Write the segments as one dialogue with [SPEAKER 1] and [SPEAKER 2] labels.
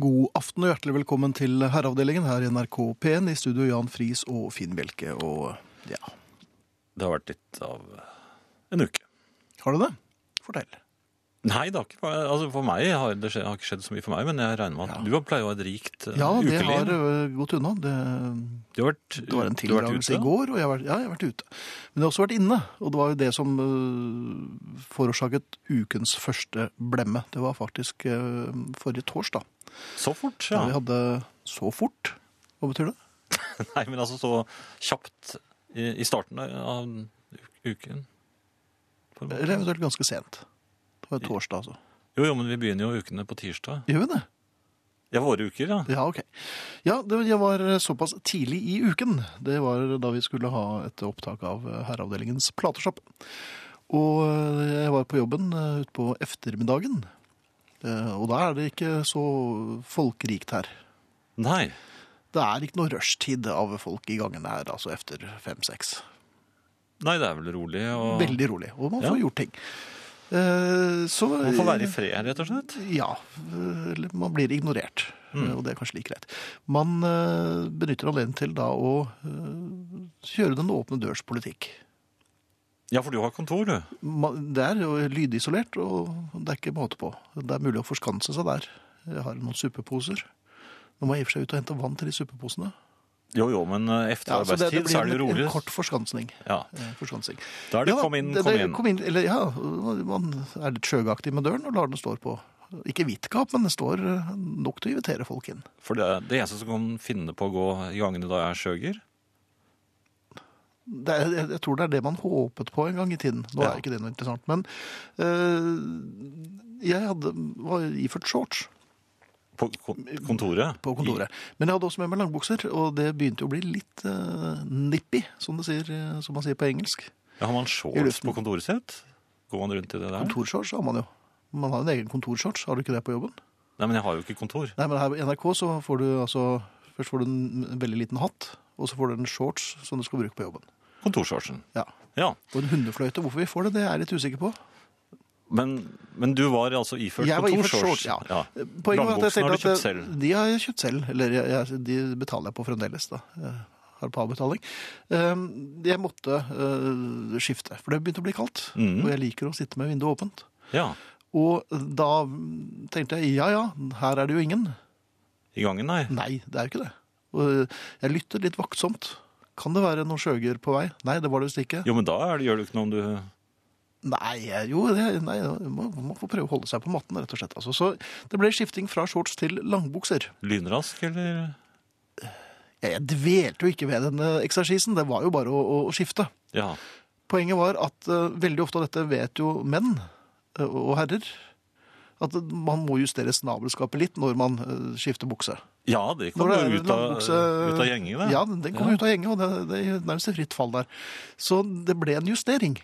[SPEAKER 1] God aften og hjertelig velkommen til Herreavdelingen her i NRK P1. I studio Jan Friis og Finn Bjelke. Og ja,
[SPEAKER 2] Det har vært litt av en uke.
[SPEAKER 1] har du det? Fortell.
[SPEAKER 2] Eh, Nei, det har ikke, altså for meg har det skje- har ikke skjedd så mye for meg, men jeg regner med at du har pleier å ha et rikt eh,
[SPEAKER 1] Ja, det
[SPEAKER 2] ukeliv.
[SPEAKER 1] har ø, gått unna. Det,
[SPEAKER 2] Du har vært,
[SPEAKER 1] det var en
[SPEAKER 2] du har vært
[SPEAKER 1] tildragelse i
[SPEAKER 2] ute.
[SPEAKER 1] går, og jeg har, vært- ja, jeg har vært ute. Men jeg har også vært inne, og det var jo det som ø, forårsaket ukens første blemme. Det var faktisk ø, forrige torsdag.
[SPEAKER 2] Så fort,
[SPEAKER 1] Da
[SPEAKER 2] ja.
[SPEAKER 1] vi hadde så fort. Hva betyr det?
[SPEAKER 2] Nei, men altså så kjapt i, i starten av u- uken. på en måte.
[SPEAKER 1] Eller eventuelt ganske sent. Det var torsdag, altså.
[SPEAKER 2] Jo, jo, men vi begynner jo ukene på tirsdag.
[SPEAKER 1] Gjør vi det?
[SPEAKER 2] Ja, våre uker, ja.
[SPEAKER 1] Ja, ok. Ja, det jeg var eh, såpass tidlig i uken. Det var da vi skulle ha et opptak av eh, herreavdelingens platesjapp. Og jeg var på jobben eh, ut på eftermiddagen. Eh, Og da er det ikke så folkrikt her.
[SPEAKER 2] Nei.
[SPEAKER 1] Det er ikke noe rushtid av folk i gangene her, altså etter fem-seks.
[SPEAKER 2] Nei, det er vel rolig og
[SPEAKER 1] Veldig rolig, og man
[SPEAKER 2] Ja.
[SPEAKER 1] får gjort ting. Eh, Så
[SPEAKER 2] Man får være i fred, rett og slett.
[SPEAKER 1] Ja, eller man blir ignorert,
[SPEAKER 2] Mm.
[SPEAKER 1] eh, og det er kanskje like greit. Man eh, benytter anledningen til da å eh, kjøre den åpne dørs politikk.
[SPEAKER 2] Ja, for du har kontor, du.
[SPEAKER 1] Man- Det er jo lydisolert, og det er ikke måte på. Det er mulig å forskanse seg der. Jeg har noen suppeposer. Nå må jeg i og for seg ut og hente vann til de suppeposene.
[SPEAKER 2] Jo, jo, men eh, etter
[SPEAKER 1] Ja, så
[SPEAKER 2] arbeidstid så, er det jo
[SPEAKER 1] en,
[SPEAKER 2] rolig.
[SPEAKER 1] en kort forskansning.
[SPEAKER 2] Ja.
[SPEAKER 1] Eh, forskansing.
[SPEAKER 2] Da er det
[SPEAKER 1] Ja da,
[SPEAKER 2] kom inn,
[SPEAKER 1] det-
[SPEAKER 2] kom
[SPEAKER 1] det-
[SPEAKER 2] inn.
[SPEAKER 1] Kom inn eller, ja, man er litt sjøgaktig med døren og lar den stå på. Ikke hvitt gap, men det står eh, nok til å invitere folk inn.
[SPEAKER 2] For det, det eneste som kan finne på å gå i gangene da jeg er skjøger
[SPEAKER 1] det er, jeg, jeg tror det er det man håpet på en gang i tiden. Nå
[SPEAKER 2] Ja.
[SPEAKER 1] er ikke det noe interessant, men eh, jeg hadde, var iført shorts
[SPEAKER 2] på kon- kontoret
[SPEAKER 1] på kontoret. Men jeg hadde også med meg langbukser, og det begynte jo å bli litt eh, nippy, som, det sier, eh, som man sier på engelsk.
[SPEAKER 2] Ja, har man
[SPEAKER 1] I
[SPEAKER 2] shorts
[SPEAKER 1] luften.
[SPEAKER 2] på kontoret sitt? Går man rundt i det der?
[SPEAKER 1] Kontorshorts har man jo. Man har en egen kontorshorts, har du ikke det på jobben?
[SPEAKER 2] Nei, men jeg har jo ikke kontor.
[SPEAKER 1] Nei, men her på NRK så får du altså, først får du en veldig liten hatt, og så får du en shorts som du skal bruke på jobben.
[SPEAKER 2] Kontorshortsen.
[SPEAKER 1] Ja.
[SPEAKER 2] Ja.
[SPEAKER 1] Og en hundefløyte, hvorfor vi får det, det er jeg litt usikker på.
[SPEAKER 2] Men, men du var altså iført
[SPEAKER 1] Jeg var iført
[SPEAKER 2] kontorshorts?
[SPEAKER 1] shorts, ja.
[SPEAKER 2] ja.
[SPEAKER 1] Poenget var at jeg tenkte
[SPEAKER 2] Langbuksene har du
[SPEAKER 1] at
[SPEAKER 2] kjøpt
[SPEAKER 1] eh,
[SPEAKER 2] selv.
[SPEAKER 1] De har jeg kjøpt selv. Eller jeg, jeg, de betaler jeg på fremdeles, da. Jeg har på avbetaling. Eh, Jeg måtte eh, skifte, for det begynte å bli kaldt.
[SPEAKER 2] Mhm.
[SPEAKER 1] Og jeg liker å sitte med vinduet åpent.
[SPEAKER 2] Ja.
[SPEAKER 1] Og da mm, tenkte jeg ja ja, her er det jo ingen.
[SPEAKER 2] I gangen, nei.
[SPEAKER 1] Nei, det er jo ikke det. Og eh, jeg lytter litt vaktsomt. Kan det være noen sjøger på vei? Nei, det var det visst ikke.
[SPEAKER 2] Jo, men da er det, gjør du ikke noe om du
[SPEAKER 1] Nei, jo, det, nei man, man får prøve å holde seg på matten, rett og slett. Altså, så det ble skifting fra shorts til langbukser.
[SPEAKER 2] lynrask, eller
[SPEAKER 1] Ja, Jeg dvelte jo ikke ved denne eksersisen, det var jo bare å, å, å skifte.
[SPEAKER 2] Ja.
[SPEAKER 1] Poenget var at eh, veldig ofte, og dette vet jo menn eh, og herrer, at man må justere snabelskapet litt når man eh, skifter bukse.
[SPEAKER 2] Ja, det
[SPEAKER 1] Når
[SPEAKER 2] kommer
[SPEAKER 1] det er
[SPEAKER 2] jo ut, av-
[SPEAKER 1] langbukse-
[SPEAKER 2] ut av gjengene.
[SPEAKER 1] Ja, den den kom ut av gjengen, og det, det er nærmest et fritt fall der. Så det ble en justering.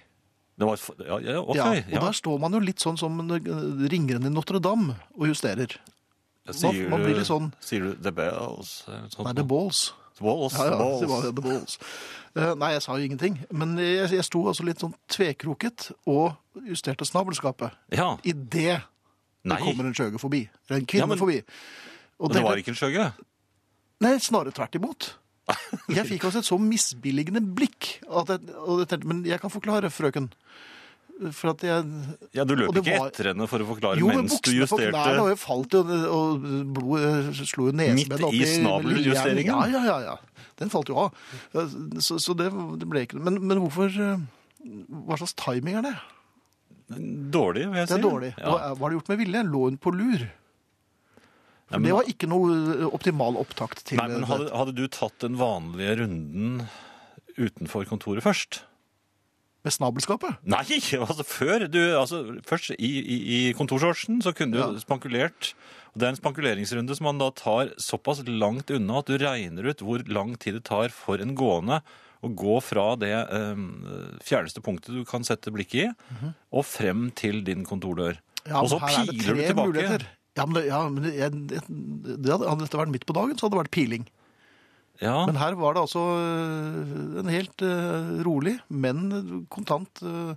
[SPEAKER 2] Det var, et- ja, ja, ok.
[SPEAKER 1] Ja,
[SPEAKER 2] Ja,
[SPEAKER 1] og der står man jo litt sånn som eh, ringeren i Notre-Dame og justerer. man- man
[SPEAKER 2] du-
[SPEAKER 1] blir litt sånn-
[SPEAKER 2] Sier du the bells? eller sånt
[SPEAKER 1] Nei, det er
[SPEAKER 2] noe?
[SPEAKER 1] balls.
[SPEAKER 2] balls.
[SPEAKER 1] Ja, ja,
[SPEAKER 2] balls.
[SPEAKER 1] det var The Balls. Eh, nei, jeg sa jo ingenting. Men jeg, jeg sto altså litt sånn tvekroket og justerte snabelskapet.
[SPEAKER 2] ja.
[SPEAKER 1] Idet det
[SPEAKER 2] Nei.
[SPEAKER 1] kommer en skjøge forbi. Eller en kvinne
[SPEAKER 2] Ja, men-
[SPEAKER 1] forbi. Og
[SPEAKER 2] Men det var ikke en skjøge?
[SPEAKER 1] Nei, snarere tvert imot. Jeg fikk altså et så misbilligende blikk at jeg, og jeg tenkte Men jeg kan forklare, frøken. For at jeg
[SPEAKER 2] Ja, Du løp
[SPEAKER 1] Og det
[SPEAKER 2] ikke
[SPEAKER 1] var-
[SPEAKER 2] etter henne for å forklare
[SPEAKER 1] Jo, men
[SPEAKER 2] mens du
[SPEAKER 1] buksene
[SPEAKER 2] justerte
[SPEAKER 1] Nei, da jeg falt jo, og blodet eh, slo jo
[SPEAKER 2] Midt i
[SPEAKER 1] nesebettet opp
[SPEAKER 2] snabeljusteringen?
[SPEAKER 1] Ja, ja, ja, ja. Den falt jo av. Så, så det, det ble ikke Men, men hvorfor eh, Hva slags timing er det?
[SPEAKER 2] Dårlig, vil jeg si.
[SPEAKER 1] Det er dårlig.
[SPEAKER 2] Ja.
[SPEAKER 1] Hva, var det gjort med vilje? Lå hun på lur?
[SPEAKER 2] Ja,
[SPEAKER 1] For
[SPEAKER 2] men-
[SPEAKER 1] det var ikke noe eh, optimal opptakt til
[SPEAKER 2] Nei, men hadde, hadde du tatt den vanlige runden utenfor kontoret først?
[SPEAKER 1] med snabelskapet.
[SPEAKER 2] Nei, altså før du, altså først i, i, i kontorshortsen så kunne du
[SPEAKER 1] Ja.
[SPEAKER 2] spankulert. Og det er en spankuleringsrunde som man da tar såpass langt unna at du regner ut hvor lang tid det tar for en gående å gå fra det eh, fjerneste punktet du kan sette blikket i, og frem til din kontordør.
[SPEAKER 1] Mhm. Ja,
[SPEAKER 2] og så
[SPEAKER 1] men her er det
[SPEAKER 2] piler du
[SPEAKER 1] tre
[SPEAKER 2] tilbake.
[SPEAKER 1] muligheter. Ja, men, det- ja, men jeg, jeg, det hadde, hadde dette vært midt på dagen, så hadde det vært piling.
[SPEAKER 2] Ja,
[SPEAKER 1] Men her var det altså eh, øh, en helt øh, rolig, men kontant øh,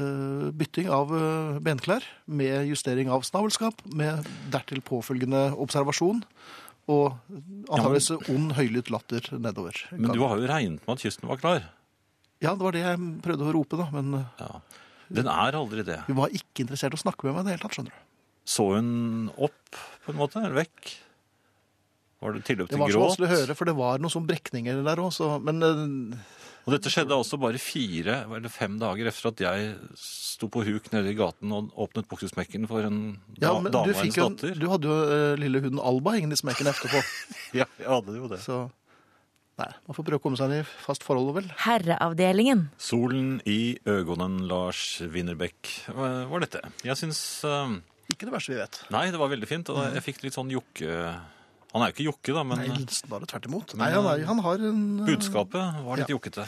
[SPEAKER 1] eh, bytting av eh, benklær med justering av snabelskap, med dertil påfølgende observasjon og antageligvis ond, høylytt latter nedover.
[SPEAKER 2] Men du har jo regnet med at kysten var klar.
[SPEAKER 1] Ja, det var det jeg prøvde å rope, da. Men eh,
[SPEAKER 2] Ja. Den er aldri det.
[SPEAKER 1] hun var ikke interessert i å snakke med meg i det hele tatt, skjønner du.
[SPEAKER 2] Så hun opp, på en måte, eller vekk? Var det tilløp
[SPEAKER 1] Det
[SPEAKER 2] til
[SPEAKER 1] var så vanskelig å
[SPEAKER 2] gråt?
[SPEAKER 1] høre, for det var noen sånne brekninger der òg, så Men eh,
[SPEAKER 2] Og dette skjedde altså bare fire eller fem dager efter at jeg sto på huk nede i gaten og åpnet buksesmekken for en
[SPEAKER 1] ja,
[SPEAKER 2] da,
[SPEAKER 1] men
[SPEAKER 2] dame
[SPEAKER 1] du,
[SPEAKER 2] og
[SPEAKER 1] fikk
[SPEAKER 2] hennes
[SPEAKER 1] jo en,
[SPEAKER 2] datter.
[SPEAKER 1] du hadde jo eh, lille hunden Alba hengende i smekken etterpå,
[SPEAKER 2] Ja, jeg hadde jo det.
[SPEAKER 1] så Nei, man får prøve å komme seg inn i fast forhold, vel.
[SPEAKER 3] Herreavdelingen.
[SPEAKER 2] Solen i øgonen, Lars Winnerbäck, eh, var dette. Jeg syns eh,
[SPEAKER 1] Ikke det verste vi vet.
[SPEAKER 2] Nei, det var veldig fint, og jeg fikk litt sånn jokke Han er jo ikke jokke, da, men
[SPEAKER 1] Mhm. Nei, snarere tvert imot. Nei, han, er, han har en eh,
[SPEAKER 2] budskapet var litt jokkete.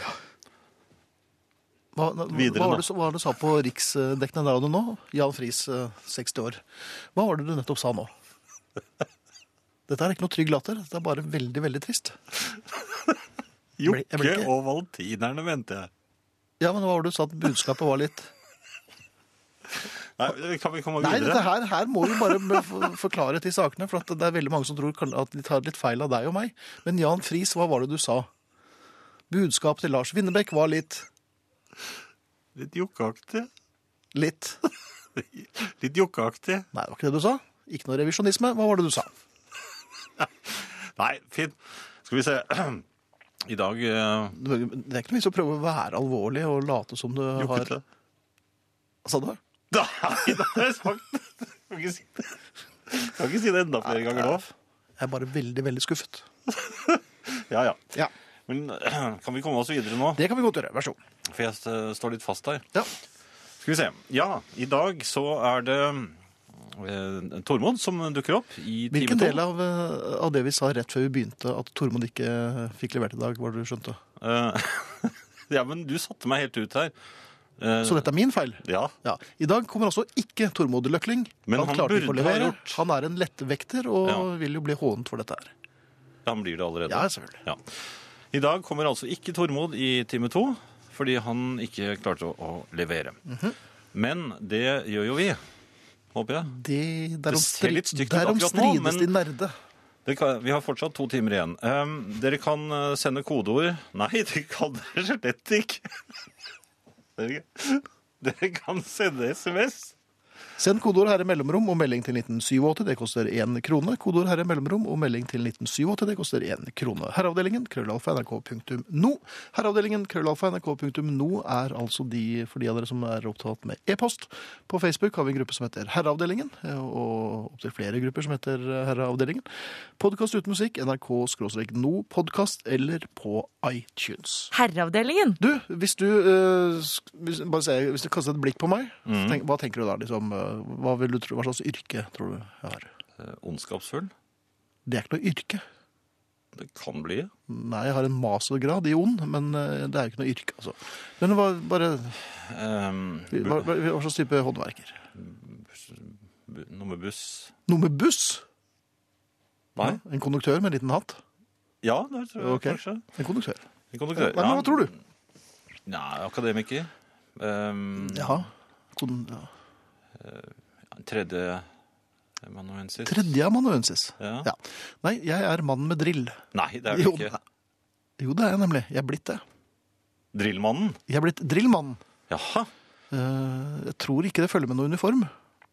[SPEAKER 1] Hva, hva,
[SPEAKER 2] Videre
[SPEAKER 1] hva,
[SPEAKER 2] nå.
[SPEAKER 1] var det, så- hva var det du sa på riksdekkende radio nå? Jan Friis, eh, 60 år. Hva var det du nettopp sa nå? Dette er ikke noe trygg latter. Dette er bare veldig, veldig trist. ble- jeg ble
[SPEAKER 2] Jokke
[SPEAKER 1] ikke-
[SPEAKER 2] og valentinerne, mente jeg.
[SPEAKER 1] Ja, men hva var det du sa at budskapet var litt
[SPEAKER 2] Nei, kan vi komme
[SPEAKER 1] Nei, dette
[SPEAKER 2] videre?
[SPEAKER 1] her, her må vi bare be- f- forklare til sakene, for at det er veldig mange som tror kan- at de tar litt feil av deg og meg. Men Jan Friis, hva var det du sa? Budskapet til Lars Winnebekk var litt
[SPEAKER 2] Litt jokkeaktig.
[SPEAKER 1] Litt.
[SPEAKER 2] Litt jokkeaktig.
[SPEAKER 1] Nei, det var ikke det du sa. Ikke noe revisjonisme. Hva var det du sa?
[SPEAKER 2] Nei, fint. Skal vi se. I dag eh,
[SPEAKER 1] Det er ikke noe vits å prøve å være alvorlig og late som du har
[SPEAKER 2] jokkete.
[SPEAKER 1] Hva sa du?
[SPEAKER 2] Nei, det har jeg sagt. Kan ikke si det, kan ikke si det enda flere ganger nå.
[SPEAKER 1] Jeg er bare veldig, veldig skuffet.
[SPEAKER 2] Ja, ja.
[SPEAKER 1] Ja,
[SPEAKER 2] Men kan vi komme oss videre nå?
[SPEAKER 1] Det kan vi godt gjøre. Vær så god.
[SPEAKER 2] For jeg eh, står litt fast her.
[SPEAKER 1] Ja.
[SPEAKER 2] Skal vi se. Ja, i dag så er det eh, Tormod som dukker opp i
[SPEAKER 1] Hvilken
[SPEAKER 2] time to.
[SPEAKER 1] del av, eh, av det vi sa rett før vi begynte, at Tormod ikke eh, fikk levert i dag, var det du skjønte?
[SPEAKER 2] Eh, ja, men du satte meg helt ut her. Eh,
[SPEAKER 1] Så dette er min feil?
[SPEAKER 2] Ja.
[SPEAKER 1] Ja. I dag kommer altså ikke Tormod Løkling.
[SPEAKER 2] Men han
[SPEAKER 1] klarte ikke å
[SPEAKER 2] burde ha
[SPEAKER 1] levere.
[SPEAKER 2] gjort.
[SPEAKER 1] Han er en lettvekter og
[SPEAKER 2] Ja.
[SPEAKER 1] vil jo bli hånet for dette her.
[SPEAKER 2] Han blir det allerede.
[SPEAKER 1] Ja, selvfølgelig.
[SPEAKER 2] Ja. I dag kommer altså ikke Tormod i time to, fordi han ikke klarte å, å levere.
[SPEAKER 1] Mhm.
[SPEAKER 2] Men det gjør jo vi, håper jeg.
[SPEAKER 1] Det, derom
[SPEAKER 2] ser
[SPEAKER 1] stri-
[SPEAKER 2] litt stygt ut
[SPEAKER 1] derom
[SPEAKER 2] akkurat nå,
[SPEAKER 1] strides
[SPEAKER 2] men-
[SPEAKER 1] de nerde.
[SPEAKER 2] Det kan, vi har fortsatt to timer igjen. Ehm, dere kan eh, sende kodeord Nei, det kan dere slett ikke. dere, dere kan sende SMS.
[SPEAKER 1] Send kodeord herre mellomrom og melding til 1987. Det koster én krone. Kodeord herre mellomrom og melding til 1987. Det koster én krone. Herreavdelingen krøllalfa nrk.no. Herreavdelingen krøllalfa nrk.no er altså de for de av dere som er opptatt med e-post. På Facebook har vi en gruppe som heter Herreavdelingen, og opptil flere grupper som heter Herreavdelingen. Podkast uten musikk, nrk-no podkast eller på iTunes.
[SPEAKER 3] Herreavdelingen.
[SPEAKER 1] Du, hvis du, eh, sk- hvis, bare se, hvis du kaster et blikk på meg,
[SPEAKER 2] Mhm.
[SPEAKER 1] så tenk, hva tenker du da? Liksom, eh, hva, vil du tro, hva slags yrke tror du jeg har?
[SPEAKER 2] Eh, ondskapsfull.
[SPEAKER 1] Det er ikke noe yrke.
[SPEAKER 2] Det kan bli.
[SPEAKER 1] Nei, jeg har en mastergrad i ond, men eh, det er jo ikke noe yrke, altså. Men hva, bare,
[SPEAKER 2] Ehm, bu-
[SPEAKER 1] hva, hva, hva slags type håndverker?
[SPEAKER 2] bu- Noe med buss.
[SPEAKER 1] Noe med buss?
[SPEAKER 2] Nei?
[SPEAKER 1] Ja, En konduktør med en liten hatt?
[SPEAKER 2] Ja, det tror jeg
[SPEAKER 1] Ok.
[SPEAKER 2] kanskje.
[SPEAKER 1] En konduktør.
[SPEAKER 2] En konduktør.
[SPEAKER 1] Nei, men hva tror du?
[SPEAKER 2] Nei, akademiker. Um,
[SPEAKER 1] Ja, kon, ja.
[SPEAKER 2] Tredje manuensis.
[SPEAKER 1] Tredje amanuensis.
[SPEAKER 2] Ja.
[SPEAKER 1] Ja. Nei, jeg er mannen med drill.
[SPEAKER 2] Nei, det er det
[SPEAKER 1] Jo,
[SPEAKER 2] ikke.
[SPEAKER 1] nei. Jo, det er jeg nemlig. Jeg er blitt det.
[SPEAKER 2] Drillmannen.
[SPEAKER 1] Jeg er blitt drillmannen.
[SPEAKER 2] Jaha.
[SPEAKER 1] Eh, Jeg tror ikke det følger med noe uniform.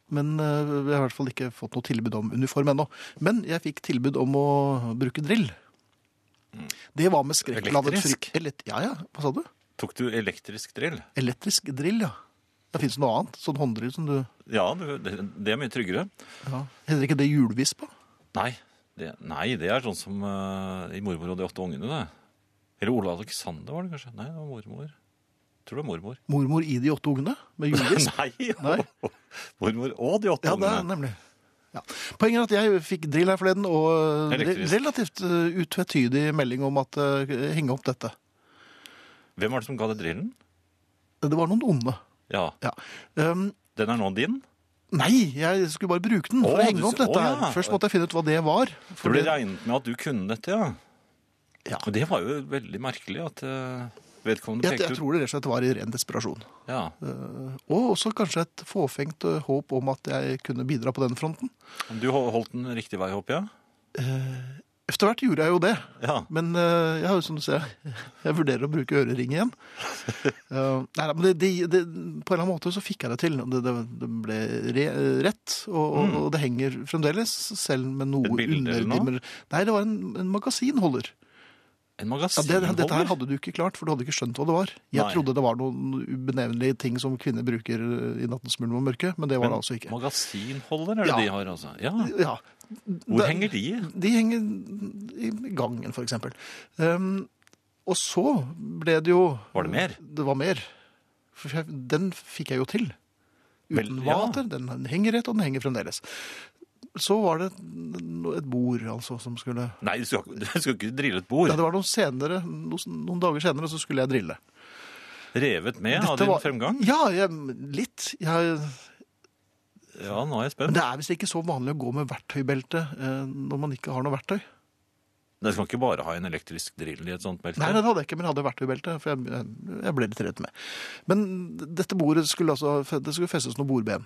[SPEAKER 1] Men eh, jeg har i hvert fall ikke fått noe tilbud om uniform ennå. Men jeg fikk tilbud om å bruke drill. Det var med skrekkladet
[SPEAKER 2] Mm. Elektrisk?
[SPEAKER 1] trykk. Elekt ja, ja. Hva sa du?
[SPEAKER 2] Tok du elektrisk drill?
[SPEAKER 1] Elektrisk drill, ja. Det fins noe annet. Sånn hånddrill som du
[SPEAKER 2] Ja, du- det, det er mye tryggere.
[SPEAKER 1] ja. Heter ikke det hjulvisp? da?
[SPEAKER 2] Nei, det, nei, det er sånn som eh, i 'Mormor og de åtte ungene'. det. Eller Ole Alexander var det kanskje? Nei, det var mormor. Jeg tror det var mormor.
[SPEAKER 1] Mormor i de åtte ungene med hjulvisp?
[SPEAKER 2] nei,
[SPEAKER 1] Nei.
[SPEAKER 2] mormor og de åtte
[SPEAKER 1] Ja, det er
[SPEAKER 2] ungene.
[SPEAKER 1] nemlig. Ja. Poenget er at jeg fikk drill her forleden, og re-
[SPEAKER 2] Elektrisk.
[SPEAKER 1] relativt eh, utvetydig melding om at eh, henge opp dette.
[SPEAKER 2] Hvem var det som ga deg drillen?
[SPEAKER 1] Det var noen onde.
[SPEAKER 2] Ja,
[SPEAKER 1] Ja. Um,
[SPEAKER 2] Den er nå din?
[SPEAKER 1] Nei, jeg skulle bare bruke den for
[SPEAKER 2] Å,
[SPEAKER 1] å henge
[SPEAKER 2] du-
[SPEAKER 1] opp dette
[SPEAKER 2] å, ja.
[SPEAKER 1] her. Først måtte jeg finne ut hva det var.
[SPEAKER 2] For det ble regnet med at du kunne dette, ja.
[SPEAKER 1] Ja.
[SPEAKER 2] Og det var jo veldig merkelig at eh, vedkommende
[SPEAKER 1] Jeg,
[SPEAKER 2] pekte
[SPEAKER 1] jeg
[SPEAKER 2] ut?
[SPEAKER 1] tror det rett og slett var i ren desperasjon.
[SPEAKER 2] Ja.
[SPEAKER 1] Eh, Og også kanskje et fåfengt eh, håp om at jeg kunne bidra på den fronten.
[SPEAKER 2] Du hol- holdt den riktig vei, håper jeg?
[SPEAKER 1] Efter hvert gjorde jeg jo det,
[SPEAKER 2] Ja.
[SPEAKER 1] men eh, jeg har jo som du ser, jeg vurderer å bruke ørering igjen. Eh, Nei, nei, men det, det, det, på en eller annen måte så fikk jeg det til. Det, det, det ble re, rett, og, og, og det henger fremdeles, selv med noe
[SPEAKER 2] Mm. Et bilde eller noe?
[SPEAKER 1] underdimmer. Nei, det var en, en magasinholder. Ja,
[SPEAKER 2] En
[SPEAKER 1] det,
[SPEAKER 2] magasinholder?
[SPEAKER 1] dette her hadde du ikke klart, for du hadde ikke skjønt hva det var. Jeg
[SPEAKER 2] Nei.
[SPEAKER 1] trodde det var noen ubenevnelige ting som kvinner bruker eh, i nattens mulm og mørke, men det var det altså ikke.
[SPEAKER 2] Magasinholder er det
[SPEAKER 1] Ja.
[SPEAKER 2] de har, altså? Ja.
[SPEAKER 1] Ja.
[SPEAKER 2] Hvor
[SPEAKER 1] Det-
[SPEAKER 2] henger de?
[SPEAKER 1] De henger i gangen, for eksempel. Ehm, og så ble det jo
[SPEAKER 2] Var det mer?
[SPEAKER 1] Det var mer. For jeg, den fikk jeg jo til. Uten
[SPEAKER 2] Vel, ja.
[SPEAKER 1] vater. Den henger rett, og den henger fremdeles. Så var det et bord, altså, som skulle
[SPEAKER 2] Nei, du skal, ikke- du skal ikke drille et bord.
[SPEAKER 1] Ja, det var noen senere, noen, noen dager senere, så skulle jeg drille.
[SPEAKER 2] Revet med av
[SPEAKER 1] Dette
[SPEAKER 2] din
[SPEAKER 1] var-
[SPEAKER 2] fremgang?
[SPEAKER 1] Ja, jeg, litt. Jeg,
[SPEAKER 2] Ja, nå er
[SPEAKER 1] men
[SPEAKER 2] jeg spent.
[SPEAKER 1] det er visst ikke så vanlig å gå med verktøybelte eh, når man ikke har noe verktøy.
[SPEAKER 2] Dere skal ikke bare ha en elektrisk drill i et sånt belte?
[SPEAKER 1] Nei, det hadde jeg ikke, men jeg hadde verktøybelte, for jeg, jeg- jeg ble litt redd med. Men dette bordet skulle altså, det skulle festes noen bordben.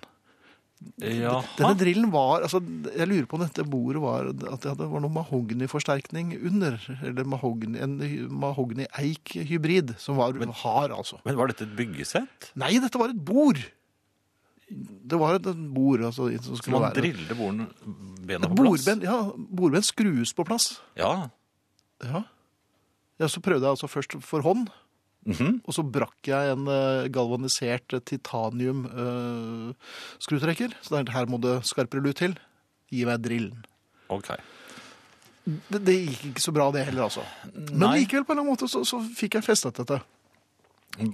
[SPEAKER 2] Jaha.
[SPEAKER 1] Denne drillen var, altså, jeg lurer på om dette bordet var, at det hadde- var noe mahogniforsterkning under, eller mahogni, en hy- mahogni-eik-hybrid, som var hard, altså.
[SPEAKER 2] Men var dette et byggesett?
[SPEAKER 1] Nei, dette var et bord! Det var et et bord, altså, som
[SPEAKER 2] Så
[SPEAKER 1] skulle
[SPEAKER 2] man
[SPEAKER 1] være...
[SPEAKER 2] driller bordene- bena på plass?
[SPEAKER 1] Bordben, ja, bordben skrues på plass.
[SPEAKER 2] Ja.
[SPEAKER 1] Ja. ja, så prøvde jeg altså først for hånd,
[SPEAKER 2] Mhm.
[SPEAKER 1] Og så brakk jeg en eh, galvanisert titanium-skrutrekker. så det er, her må det skarpere lut til. Gi meg drillen. Eh,
[SPEAKER 2] Ok.
[SPEAKER 1] Det, det gikk ikke så bra, det heller, altså. Men
[SPEAKER 2] Nei.
[SPEAKER 1] likevel, på en eller annen måte, så, så fikk jeg festet dette.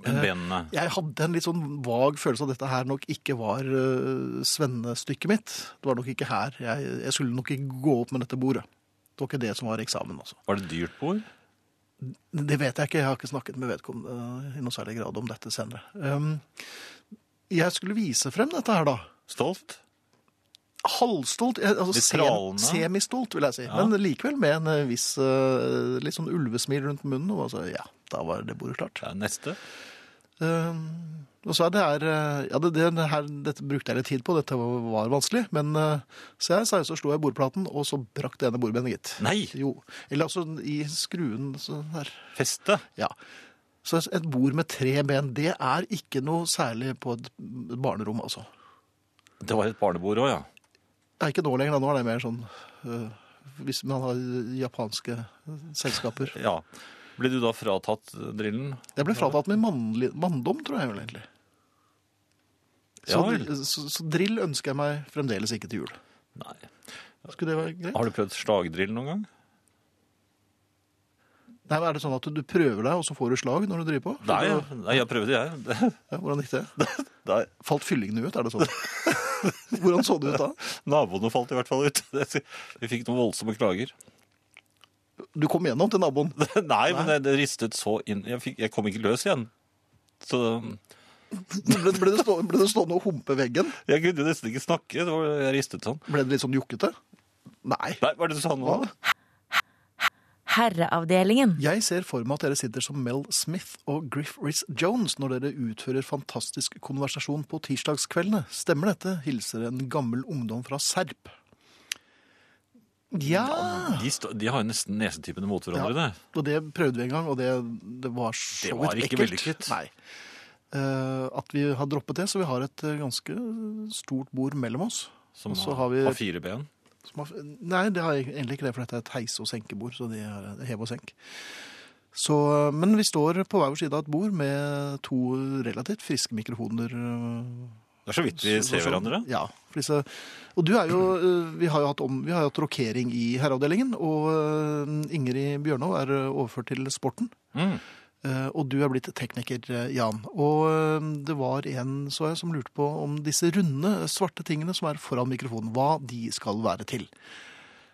[SPEAKER 2] Benene.
[SPEAKER 1] Jeg hadde en litt sånn vag følelse av at dette her nok ikke var eh, svennestykket mitt. Det var nok ikke her. Jeg, jeg skulle nok ikke gå opp med dette bordet. Det var ikke det som var eksamen, altså.
[SPEAKER 2] Var det dyrt bord?
[SPEAKER 1] Det vet jeg ikke. Jeg har ikke snakket med vedkommende eh, i noe særlig grad om dette senere. Um, jeg skulle vise frem dette her, da.
[SPEAKER 2] Stolt?
[SPEAKER 1] halvstolt, eh, altså
[SPEAKER 2] Litt
[SPEAKER 1] sem-
[SPEAKER 2] tralende.
[SPEAKER 1] semistolt, vil jeg si.
[SPEAKER 2] Ja.
[SPEAKER 1] Men likevel med en eh, viss eh, litt sånn ulvesmil rundt munnen. Og altså, ja, da var det bordet klart.
[SPEAKER 2] Ja, neste?
[SPEAKER 1] Eh, og så er det her eh, Ja, det, det her, dette brukte jeg litt tid på, dette var, var vanskelig. Men eh, så jeg seriøst så slo jeg bordplaten, og så brakk det ene bordbenet, gitt.
[SPEAKER 2] Nei!
[SPEAKER 1] Jo. Eller altså i skruen sånn her.
[SPEAKER 2] Feste?
[SPEAKER 1] Ja. Så et bord med tre ben, det er ikke noe særlig på et barnerom, altså.
[SPEAKER 2] Det var et barnebord òg, ja.
[SPEAKER 1] Nei, ikke nå lenger. da. Nå er det mer sånn øh, Hvis man har japanske øh, selskaper.
[SPEAKER 2] ja. Ble du da fratatt drillen?
[SPEAKER 1] Jeg ble fratatt min mannlig, manndom, tror jeg vel egentlig. Så,
[SPEAKER 2] Ja vel.
[SPEAKER 1] så, så drill ønsker jeg meg fremdeles ikke til jul.
[SPEAKER 2] Nei.
[SPEAKER 1] Skulle det være greit?
[SPEAKER 2] Har du prøvd slagdrill noen gang?
[SPEAKER 1] Nei, men Er det sånn at du prøver deg, og så får du slag når du driver på?
[SPEAKER 2] Nei,
[SPEAKER 1] Ja,
[SPEAKER 2] nei jeg prøvde, jeg.
[SPEAKER 1] hvordan gikk det?
[SPEAKER 2] Nei.
[SPEAKER 1] Falt fyllingene ut, er det sånn? hvordan så det ut da?
[SPEAKER 2] Naboene falt i hvert fall ut. Vi fikk noen voldsomme klager.
[SPEAKER 1] Du kom gjennom til naboen.
[SPEAKER 2] Nei, men det, det ristet så inn. Jeg, fikk, jeg kom ikke løs igjen. Så
[SPEAKER 1] Ble, ble, det stå, ble det stående og humpe veggen?
[SPEAKER 2] jeg kunne jo nesten ikke snakke. Det var, jeg ristet sånn.
[SPEAKER 1] Ble det litt sånn jokkete? Nei.
[SPEAKER 2] Nei, hva er det du sa nå?
[SPEAKER 1] Hva?
[SPEAKER 3] Herreavdelingen.
[SPEAKER 1] Jeg ser for meg at dere sitter som Mel Smith og Griff Rhys Jones når dere utfører fantastisk konversasjon på tirsdagskveldene. Stemmer dette? Hilser en gammel ungdom fra Serp. Ja!
[SPEAKER 2] De, sto- de har jo nesten nesetypene mot hverandre, det.
[SPEAKER 1] Og det prøvde vi en gang, og det, det var så
[SPEAKER 2] Det var
[SPEAKER 1] vidt
[SPEAKER 2] ikke
[SPEAKER 1] ekkelt.
[SPEAKER 2] vellykket.
[SPEAKER 1] Nei. Eh, at vi har droppet det, så vi har et eh, ganske stort bord mellom oss.
[SPEAKER 2] Som
[SPEAKER 1] Og så
[SPEAKER 2] har,
[SPEAKER 1] har vi-
[SPEAKER 2] har fire ben.
[SPEAKER 1] Som har, nei, det har jeg egentlig ikke det, for dette er et heise- og senkebord, så det er hev og senk. Så, men vi står på hver vår side av et bord med to relativt friske mikrofoner. øh,
[SPEAKER 2] Det er så vidt vi
[SPEAKER 1] så-
[SPEAKER 2] ser
[SPEAKER 1] sånn.
[SPEAKER 2] hverandre.
[SPEAKER 1] Ja. For disse, og du er jo øh, Vi har jo hatt, om, vi har jo hatt rokering i herreavdelingen, og øh, Ingrid Bjørnov er øh, overført til sporten.
[SPEAKER 2] Mm.
[SPEAKER 1] Eh, Og du er blitt tekniker, eh, Jan. Og eh, det var en så jeg, som lurte på om disse runde, eh, svarte tingene som er foran mikrofonen, hva de skal være til.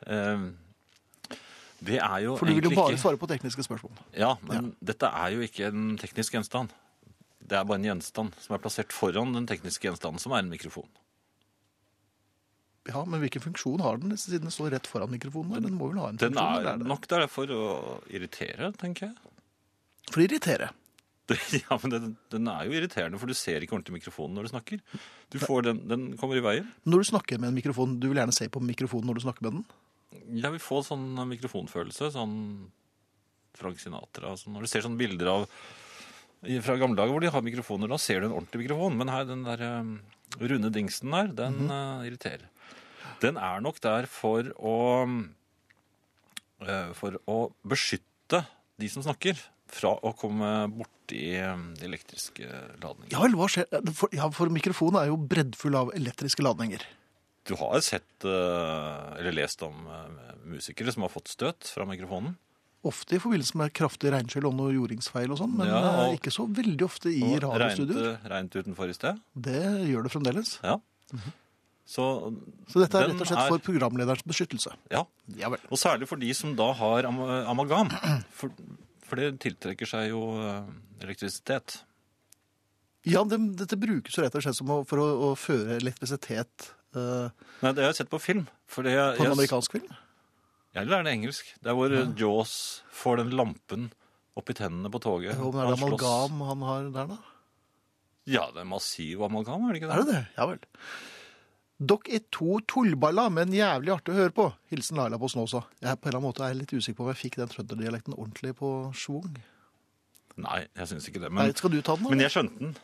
[SPEAKER 2] Eh, det er jo
[SPEAKER 1] For du vil jo
[SPEAKER 2] egentlig
[SPEAKER 1] bare
[SPEAKER 2] ikke-
[SPEAKER 1] svare på tekniske spørsmål.
[SPEAKER 2] Ja, men dette er jo ikke en teknisk gjenstand. Det er bare en gjenstand som er plassert foran den tekniske gjenstanden, som er en mikrofon.
[SPEAKER 1] Ja, men hvilken funksjon har den, siden den står rett foran mikrofonen? Den, må vel ha en
[SPEAKER 2] Den
[SPEAKER 1] funksjon,
[SPEAKER 2] er
[SPEAKER 1] eller er det-
[SPEAKER 2] nok der for å irritere, tenker jeg.
[SPEAKER 1] For å irritere.
[SPEAKER 2] Det, ja, men den, den er jo irriterende, for du ser ikke ordentlig mikrofonen når du snakker. Du får den, den kommer i veien.
[SPEAKER 1] Når du snakker med en mikrofon, du vil gjerne se på mikrofonen når du snakker med den.
[SPEAKER 2] Jeg vil få sånn mikrofonfølelse, sånn Frank Sinatra. Sånn. Når du ser sånne bilder av i- fra gamle dager hvor de har mikrofoner, da ser du en ordentlig mikrofon. Men her, den der eh, runde dingsen der, den eh, irriterer. Den er nok der for å eh, For å beskytte de som snakker, fra å komme borti eh, de elektriske ladningene.
[SPEAKER 1] Ja vel, hva skjer? For, ja, for mikrofonen er jo breddfull av elektriske ladninger.
[SPEAKER 2] Du har sett eh, eller lest om eh, musikere som har fått støt fra mikrofonen.
[SPEAKER 1] Ofte i forbindelse med kraftig regnskyll og noe jordingsfeil og sånn, men
[SPEAKER 2] Ja, og-
[SPEAKER 1] eh, ikke så veldig ofte i
[SPEAKER 2] Og
[SPEAKER 1] radiostudioer.
[SPEAKER 2] regnet- Regnet utenfor i sted.
[SPEAKER 1] Det gjør det fremdeles.
[SPEAKER 2] Ja. Så,
[SPEAKER 1] Så dette er
[SPEAKER 2] Den
[SPEAKER 1] rett og slett
[SPEAKER 2] er-
[SPEAKER 1] for programlederens beskyttelse.
[SPEAKER 2] ja.
[SPEAKER 1] Ja vel.
[SPEAKER 2] Og særlig for de som da har am amalgam. For, for det tiltrekker seg jo eh, elektrisitet.
[SPEAKER 1] Ja, det, dette brukes jo rett og slett som å, for å, å føre elektrisitet eh,
[SPEAKER 2] Nei, det har jeg sett på film. For det,
[SPEAKER 1] på en
[SPEAKER 2] jeg,
[SPEAKER 1] amerikansk film.
[SPEAKER 2] eller er det engelsk? Det er hvor eh, Jaws får den lampen oppi tennene på toget.
[SPEAKER 1] Om det er
[SPEAKER 2] Han slåss.
[SPEAKER 1] amalgam han har der, da?
[SPEAKER 2] Ja, det er massiv amalgam, er det ikke det?
[SPEAKER 1] Er det det? Ja vel. Dere er to tullballer, men jævlig artig å høre på. Hilsen Laila på Snåsa. Jeg er på en eller annen måte er litt usikker på om jeg fikk den trønderdialekten ordentlig på schwung.
[SPEAKER 2] Nei, jeg syns ikke det.
[SPEAKER 1] Nei,
[SPEAKER 2] Men,
[SPEAKER 1] Skal du ta den,
[SPEAKER 2] men
[SPEAKER 1] da?
[SPEAKER 2] jeg skjønte den.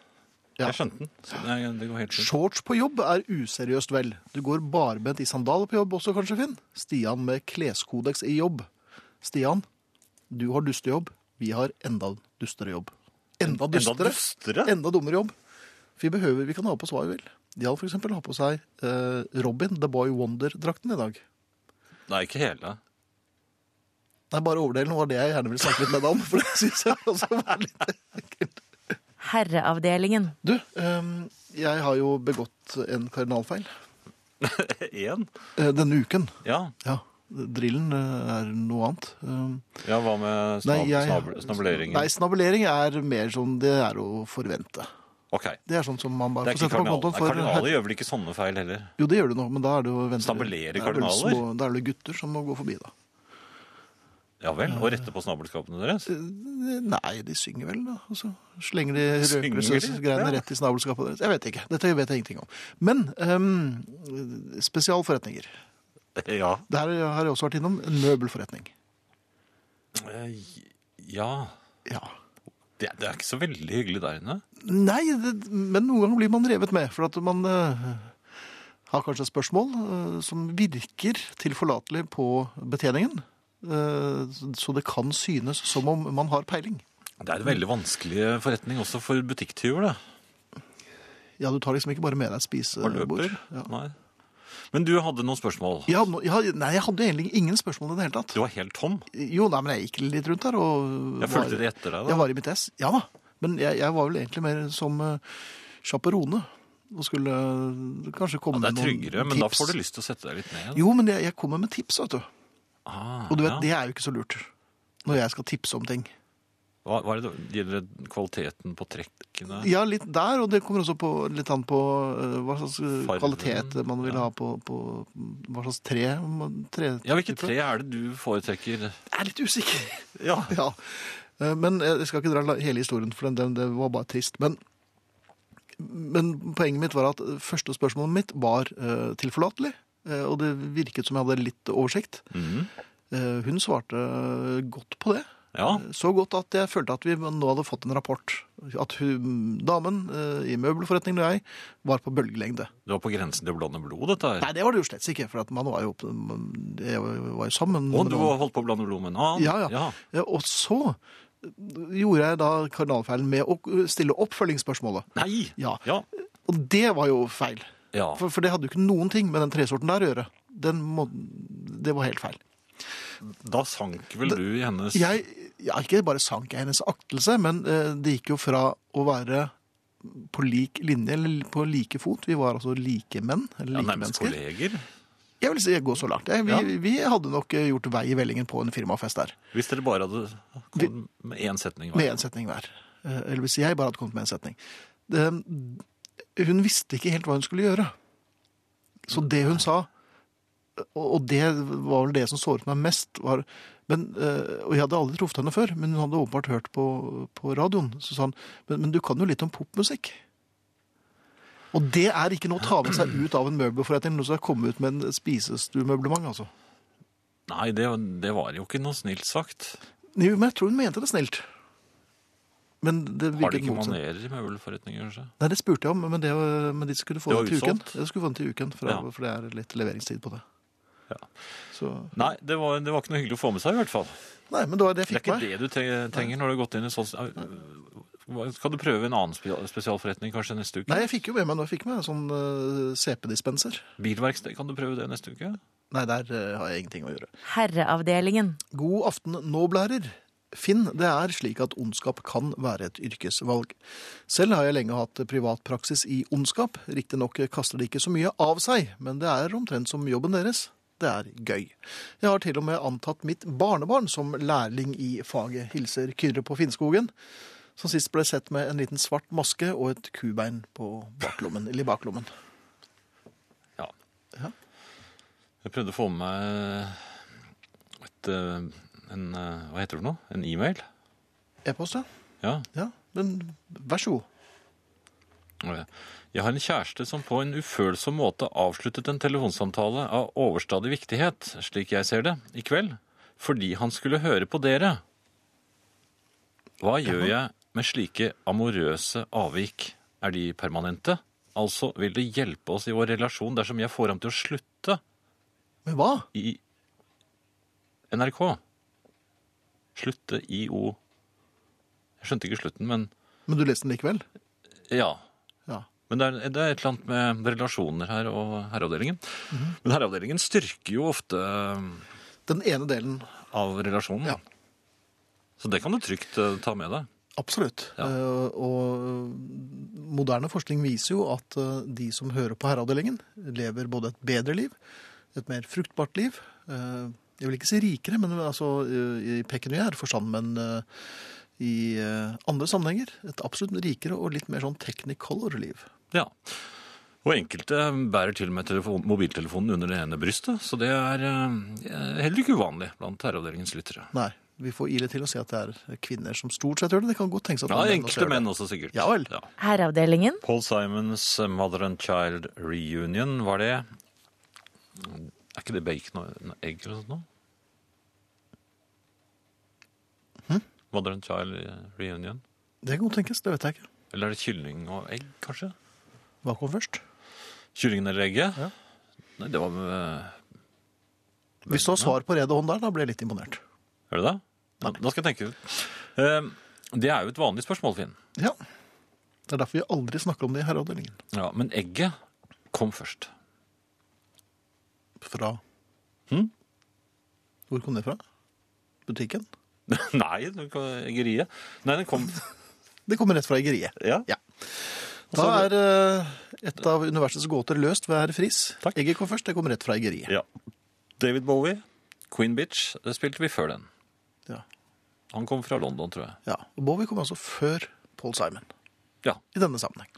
[SPEAKER 1] Ja.
[SPEAKER 2] Jeg skjønte den. Så det, det går helt fint.
[SPEAKER 1] Shorts på jobb er useriøst vel. Du går barbent i sandaler på jobb også, kanskje, Finn? Stian med kleskodeks i jobb. Stian, du har dustejobb. Vi har enda dustere jobb. Enda dustere?
[SPEAKER 2] dustere?
[SPEAKER 1] Enda dummere jobb. For vi behøver, vi kan ha på oss hva vi vil. Jan for eksempel har på seg eh, Robin, The Boy Wonder-drakten i dag.
[SPEAKER 2] Nei, ikke hele.
[SPEAKER 1] Nei, bare overdelen var det jeg gjerne ville snakke litt med deg om. For det synes jeg også var litt ekkelt.
[SPEAKER 3] Herreavdelingen.
[SPEAKER 1] Du, ehm, jeg har jo begått en kardinalfeil
[SPEAKER 2] Én?
[SPEAKER 1] eh, denne uken.
[SPEAKER 2] Ja.
[SPEAKER 1] Ja, drillen eh, er noe annet. Ehm,
[SPEAKER 2] ja. Hva med snab
[SPEAKER 1] jeg-
[SPEAKER 2] snab snabuleringen?
[SPEAKER 1] Nei, snabulering er mer sånn det er å forvente.
[SPEAKER 2] Ok.
[SPEAKER 1] Det er sånn som man bare
[SPEAKER 2] Det er
[SPEAKER 1] får
[SPEAKER 2] ikke
[SPEAKER 1] sette på
[SPEAKER 2] kardinal.
[SPEAKER 1] kontoen
[SPEAKER 2] Nei,
[SPEAKER 1] for
[SPEAKER 2] kardinaler gjør vel ikke sånne feil heller.
[SPEAKER 1] Jo, det gjør du nå, men da er det jo venter-
[SPEAKER 2] Snabulere
[SPEAKER 1] det er vel
[SPEAKER 2] kardinaler?
[SPEAKER 1] små- Da er det gutter som må gå forbi, da.
[SPEAKER 2] Ja vel, Og rette på snabelskapene deres?
[SPEAKER 1] Nei, de synger vel, da. Og så slenger de
[SPEAKER 2] Synger de?
[SPEAKER 1] røkelsesgreiene
[SPEAKER 2] Ja.
[SPEAKER 1] rett i snabelskapet deres. Jeg vet ikke. Dette vet jeg ingenting om. Men ehm, spesialforretninger. Eh,
[SPEAKER 2] Ja.
[SPEAKER 1] Det her har jeg også vært innom. En møbelforretning.
[SPEAKER 2] Eh, Ja
[SPEAKER 1] Ja.
[SPEAKER 2] det, det er ikke så veldig hyggelig der inne.
[SPEAKER 1] Nei, det, men noen ganger blir man revet med. For at man eh, har kanskje et spørsmål eh, som virker tilforlatelig på betjeningen. eh, så det kan synes som om man har peiling.
[SPEAKER 2] Det er en veldig vanskelig forretning også for butikktyver. det.
[SPEAKER 1] Ja, du tar liksom ikke bare med deg et
[SPEAKER 2] Og
[SPEAKER 1] spisebord.
[SPEAKER 2] løper.
[SPEAKER 1] Ja.
[SPEAKER 2] Nei. Men du hadde noen spørsmål.
[SPEAKER 1] Ja, nå- ja, nei, jeg hadde egentlig ingen spørsmål i det hele tatt.
[SPEAKER 2] Du var helt tom.
[SPEAKER 1] Jo, nei, men jeg gikk litt rundt der og
[SPEAKER 2] Jeg fulgte det etter deg.
[SPEAKER 1] Jeg
[SPEAKER 2] da.
[SPEAKER 1] var i mitt ess. Ja da. Men jeg, jeg var vel egentlig mer som uh, sjaperone. Og skulle eh, kanskje
[SPEAKER 2] Ja,
[SPEAKER 1] komme
[SPEAKER 2] det
[SPEAKER 1] med
[SPEAKER 2] er
[SPEAKER 1] noen tips.
[SPEAKER 2] tryggere, men da får du lyst til å sette deg litt ned.
[SPEAKER 1] Jo, men jeg, jeg kommer med tips, vet du.
[SPEAKER 2] Ah,
[SPEAKER 1] Og du vet,
[SPEAKER 2] ja.
[SPEAKER 1] det er jo ikke så lurt. Når jeg skal tipse om ting.
[SPEAKER 2] hva, hva er det, da? Gjelder det kvaliteten på trekkene?
[SPEAKER 1] Ja, litt der, og det kommer også på, litt an på eh, hva slags eh,
[SPEAKER 2] Fargen,
[SPEAKER 1] kvalitet man vil
[SPEAKER 2] ja.
[SPEAKER 1] ha på, på hva slags tre, tre
[SPEAKER 2] Ja, Hvilket tre er det du foretrekker?
[SPEAKER 1] Jeg er litt usikker.
[SPEAKER 2] Ja,
[SPEAKER 1] Ja, eh, men jeg skal ikke dra la- hele historien, for den, den, det var bare trist. Men, men poenget mitt var at øh, første spørsmålet mitt var eh, tilforlatelig. eh, og det virket som jeg hadde litt oversikt.
[SPEAKER 2] Mhm.
[SPEAKER 1] Eh, hun svarte øh, godt på det.
[SPEAKER 2] ja.
[SPEAKER 1] Så godt at jeg følte at vi nå hadde fått en rapport. At hun, damen eh, i møbelforretningen og jeg var på bølgelengde.
[SPEAKER 2] Du var på grensen til å blande blod, dette her.
[SPEAKER 1] Nei, det var det jo slett ikke, for at man var jo, opp- jeg var jo sammen.
[SPEAKER 2] Å,
[SPEAKER 1] med
[SPEAKER 2] du
[SPEAKER 1] noen.
[SPEAKER 2] har holdt på å blande blod med en annen?
[SPEAKER 1] Ja, ja. Ja, Og så gjorde jeg da kardinalfeilen med å stille oppfølgingsspørsmålet.
[SPEAKER 2] Nei!
[SPEAKER 1] Ja.
[SPEAKER 2] Ja.
[SPEAKER 1] Og det var jo feil.
[SPEAKER 2] ja.
[SPEAKER 1] For, for det hadde jo ikke noen ting med den tresorten der å gjøre. Den må, det var helt feil.
[SPEAKER 2] Da sank vel du i hennes
[SPEAKER 1] Jeg, ja, ikke bare sank jeg hennes aktelse, men eh, det gikk jo fra å være på lik linje, eller på like fot. Vi var altså like menn, eller
[SPEAKER 2] ja,
[SPEAKER 1] like
[SPEAKER 2] nærmest
[SPEAKER 1] mennesker.
[SPEAKER 2] kolleger?
[SPEAKER 1] Jeg vil si jeg går så langt. Jeg, vi,
[SPEAKER 2] Ja.
[SPEAKER 1] vi hadde nok eh, gjort vei i vellingen på en firmafest der.
[SPEAKER 2] Hvis dere bare hadde kommet med én setning hver.
[SPEAKER 1] Med én setning hver. Eh, Eller hvis jeg bare hadde kommet med en setning.
[SPEAKER 2] Mm.
[SPEAKER 1] Det- Hun visste ikke helt hva hun skulle gjøre. Så det hun sa og og det var vel det som såret meg mest. Var, men, eh, og jeg hadde aldri truffet henne før, men hun hadde åpenbart hørt på, på radioen. Så sa han men, men du kan jo litt om popmusikk. Og det er ikke noe å ta med seg ut av en møbelforretning når du skal komme ut med en spisestuemøblement. altså.
[SPEAKER 2] Nei, det, det var jo ikke noe snilt sagt.
[SPEAKER 1] Jo, men jeg tror hun mente det snilt. Men det
[SPEAKER 2] Har de
[SPEAKER 1] virket
[SPEAKER 2] ikke
[SPEAKER 1] motsatt.
[SPEAKER 2] manerer i møbelforretninger, kanskje?
[SPEAKER 1] Nei, det spurte jeg om, men, det, men de skulle få
[SPEAKER 2] Det
[SPEAKER 1] det,
[SPEAKER 2] var
[SPEAKER 1] til uken.
[SPEAKER 2] utsolgt.
[SPEAKER 1] Ja, de skulle få det til uken, for,
[SPEAKER 2] Ja.
[SPEAKER 1] for det er litt leveringstid på det.
[SPEAKER 2] Ja.
[SPEAKER 1] Så,
[SPEAKER 2] Nei, det var, det var ikke noe hyggelig å få med seg, i hvert fall.
[SPEAKER 1] nei, men det var det jeg
[SPEAKER 2] Det er
[SPEAKER 1] fikk
[SPEAKER 2] ikke
[SPEAKER 1] meg.
[SPEAKER 2] det du tre- trenger når du har gått inn i sånn Hva- Skal du prøve en annen spe- spesialforretning kanskje neste uke?
[SPEAKER 1] Nei, jeg fikk jo med meg, nå fikk jeg med en sånn eh, CP-dispenser.
[SPEAKER 2] Bilverksted, kan du prøve det neste uke?
[SPEAKER 1] Nei, der eh, har jeg ingenting å gjøre.
[SPEAKER 3] Herreavdelingen.
[SPEAKER 1] God aften, nåblærer. Finn, det er slik at ondskap kan være et yrkesvalg. Selv har jeg lenge hatt privat praksis i ondskap. Riktignok kaster de ikke så mye av seg, men det er omtrent som jobben deres. Det er gøy. Jeg har til og med antatt mitt barnebarn som lærling i faget. Hilser Kyrre på Finnskogen, som sist ble sett med en liten svart maske og et kubein på baklommen, eller i baklommen.
[SPEAKER 2] Ja.
[SPEAKER 1] Ja.
[SPEAKER 2] Jeg prøvde å få med meg et, eh, en eh, Hva heter det for noe? En e-mail?
[SPEAKER 1] E-post, ja.
[SPEAKER 2] Ja.
[SPEAKER 1] ja. Men vær så god.
[SPEAKER 2] Jeg har en kjæreste som på en ufølsom måte avsluttet en telefonsamtale av overstadig viktighet, slik jeg ser det, i kveld, fordi han skulle høre på dere. Hva gjør jeg med slike amorøse avvik? Er de permanente? Altså, vil det hjelpe oss i vår relasjon dersom jeg får ham til å slutte
[SPEAKER 1] Men hva?
[SPEAKER 2] i NRK? Slutte i O Jeg skjønte ikke slutten, men
[SPEAKER 1] Men du leste den likevel?
[SPEAKER 2] ja.
[SPEAKER 1] Ja.
[SPEAKER 2] Men det er, det er et eller annet med relasjoner her og herreavdelingen.
[SPEAKER 1] Mhm.
[SPEAKER 2] Men herreavdelingen styrker jo ofte av
[SPEAKER 1] Den ene delen,
[SPEAKER 2] relasjonen.
[SPEAKER 1] Ja.
[SPEAKER 2] Så det kan du trygt eh, ta med deg.
[SPEAKER 1] absolutt.
[SPEAKER 2] Ja.
[SPEAKER 1] Eh, Og moderne forskning viser jo at eh, de som hører på herreavdelingen, lever både et bedre liv, et mer fruktbart liv. eh, Jeg vil ikke si rikere, men altså eh, i pekuniær forstand, men eh, i eh, andre sammenhenger et absolutt rikere og litt mer sånn technicolor-liv.
[SPEAKER 2] Ja. Og enkelte eh, bærer til og med telefon, mobiltelefonen under det ene brystet, så det er eh, heller ikke uvanlig blant herreavdelingens lyttere.
[SPEAKER 1] Nei, vi får ile til å si at det er kvinner som stort sett gjør det. Det kan godt tenkes at
[SPEAKER 2] Ja,
[SPEAKER 1] det er
[SPEAKER 2] enkelte
[SPEAKER 1] menn
[SPEAKER 2] menn også sikkert.
[SPEAKER 1] Ja vel.
[SPEAKER 3] Herreavdelingen.
[SPEAKER 2] Paul Simons Mother and Child Reunion, var det Er ikke det bacon og egg eller noe sånt? nå? Hm? Mother and Child Reunion?
[SPEAKER 1] Det kan godt tenkes, det vet jeg ikke.
[SPEAKER 2] Eller er det kylling og egg, kanskje?
[SPEAKER 1] Hva kom først?
[SPEAKER 2] Kyllingen eller egget?
[SPEAKER 1] Ja.
[SPEAKER 2] Nei, det var eh,
[SPEAKER 1] Hvis du har svar på rede hånd der, da blir jeg litt imponert.
[SPEAKER 2] Er det det? Da, da skal jeg tenke ut. Eh, Det er jo et vanlig spørsmål, Finn.
[SPEAKER 1] Ja. Det er derfor vi aldri snakker om det i herreavdelingen.
[SPEAKER 2] Ja, men egget kom først.
[SPEAKER 1] Fra
[SPEAKER 2] Hm?
[SPEAKER 1] Hvor kom det fra? Butikken?
[SPEAKER 2] Nei, det var eggeriet. Nei, den kom
[SPEAKER 1] Det kommer rett fra eggeriet.
[SPEAKER 2] Ja.
[SPEAKER 1] Ja. Da
[SPEAKER 2] så-
[SPEAKER 1] er eh, et av universets gåter løst ved herr Friis.
[SPEAKER 2] Takk.
[SPEAKER 1] Egget kom først, det kom rett fra eggeriet.
[SPEAKER 2] Ja. David Bowie, Queen Bitch, det spilte vi før den.
[SPEAKER 1] Ja.
[SPEAKER 2] Han kom fra London, tror jeg.
[SPEAKER 1] ja. Og Bowie kom altså før Paul Simon
[SPEAKER 2] Ja.
[SPEAKER 1] i denne sammenheng.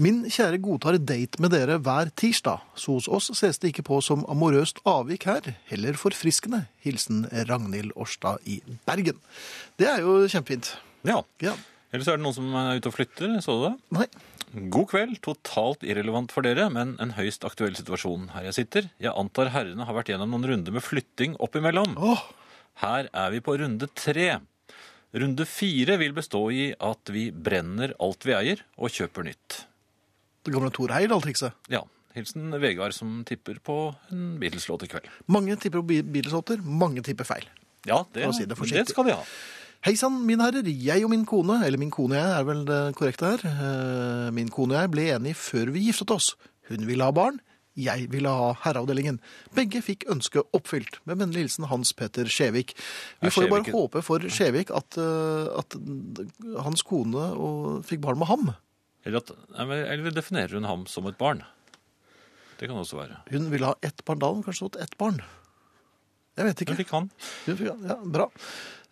[SPEAKER 1] Min kjære godtar date med dere hver tirsdag. Så hos oss ses det ikke på som amorøst avvik her, heller forfriskende. Hilsen Ragnhild Årstad i Bergen. Det er jo kjempefint.
[SPEAKER 2] ja.
[SPEAKER 1] Ja.
[SPEAKER 2] Ellers er det noen som er ute og flytter, så du det?
[SPEAKER 1] Nei.
[SPEAKER 2] God kveld, totalt irrelevant for dere, men en høyst aktuell situasjon her jeg sitter. Jeg antar herrene har vært gjennom noen runder med flytting oppimellom.
[SPEAKER 1] Åh,
[SPEAKER 2] Her er vi på runde tre. Runde fire vil bestå i at vi brenner alt vi eier, og kjøper nytt.
[SPEAKER 1] det gamle Thor Heyerdahl-trikset.
[SPEAKER 2] Ja. Hilsen Vegard, som tipper på en Beatles-låt i kveld.
[SPEAKER 1] Mange tipper på Beatles-låter, mange tipper feil.
[SPEAKER 2] Ja, det,
[SPEAKER 1] For å si det forsiktig.
[SPEAKER 2] det skal de ha.
[SPEAKER 1] Hei sann, mine herrer. Jeg og min kone, eller min kone og jeg er vel det korrekte her. Eh, Min kone og jeg ble enige før vi giftet oss. Hun ville ha barn, jeg ville ha herreavdelingen. Begge fikk ønsket oppfylt. Med vennlig hilsen Hans Petter Skjevik. Vi
[SPEAKER 2] Er
[SPEAKER 1] får jo bare
[SPEAKER 2] Skjevik-
[SPEAKER 1] håpe for Skjevik at, eh, at hans kone og, fikk barn med ham.
[SPEAKER 2] Eller, at, nei, men- eller definerer hun ham som et barn? Det kan også være.
[SPEAKER 1] Hun ville ha ett barn da, hadde hun kanskje fått ett barn. Jeg vet
[SPEAKER 2] Hun
[SPEAKER 1] ikke.
[SPEAKER 2] fikk han.
[SPEAKER 1] Ja, ja, bra.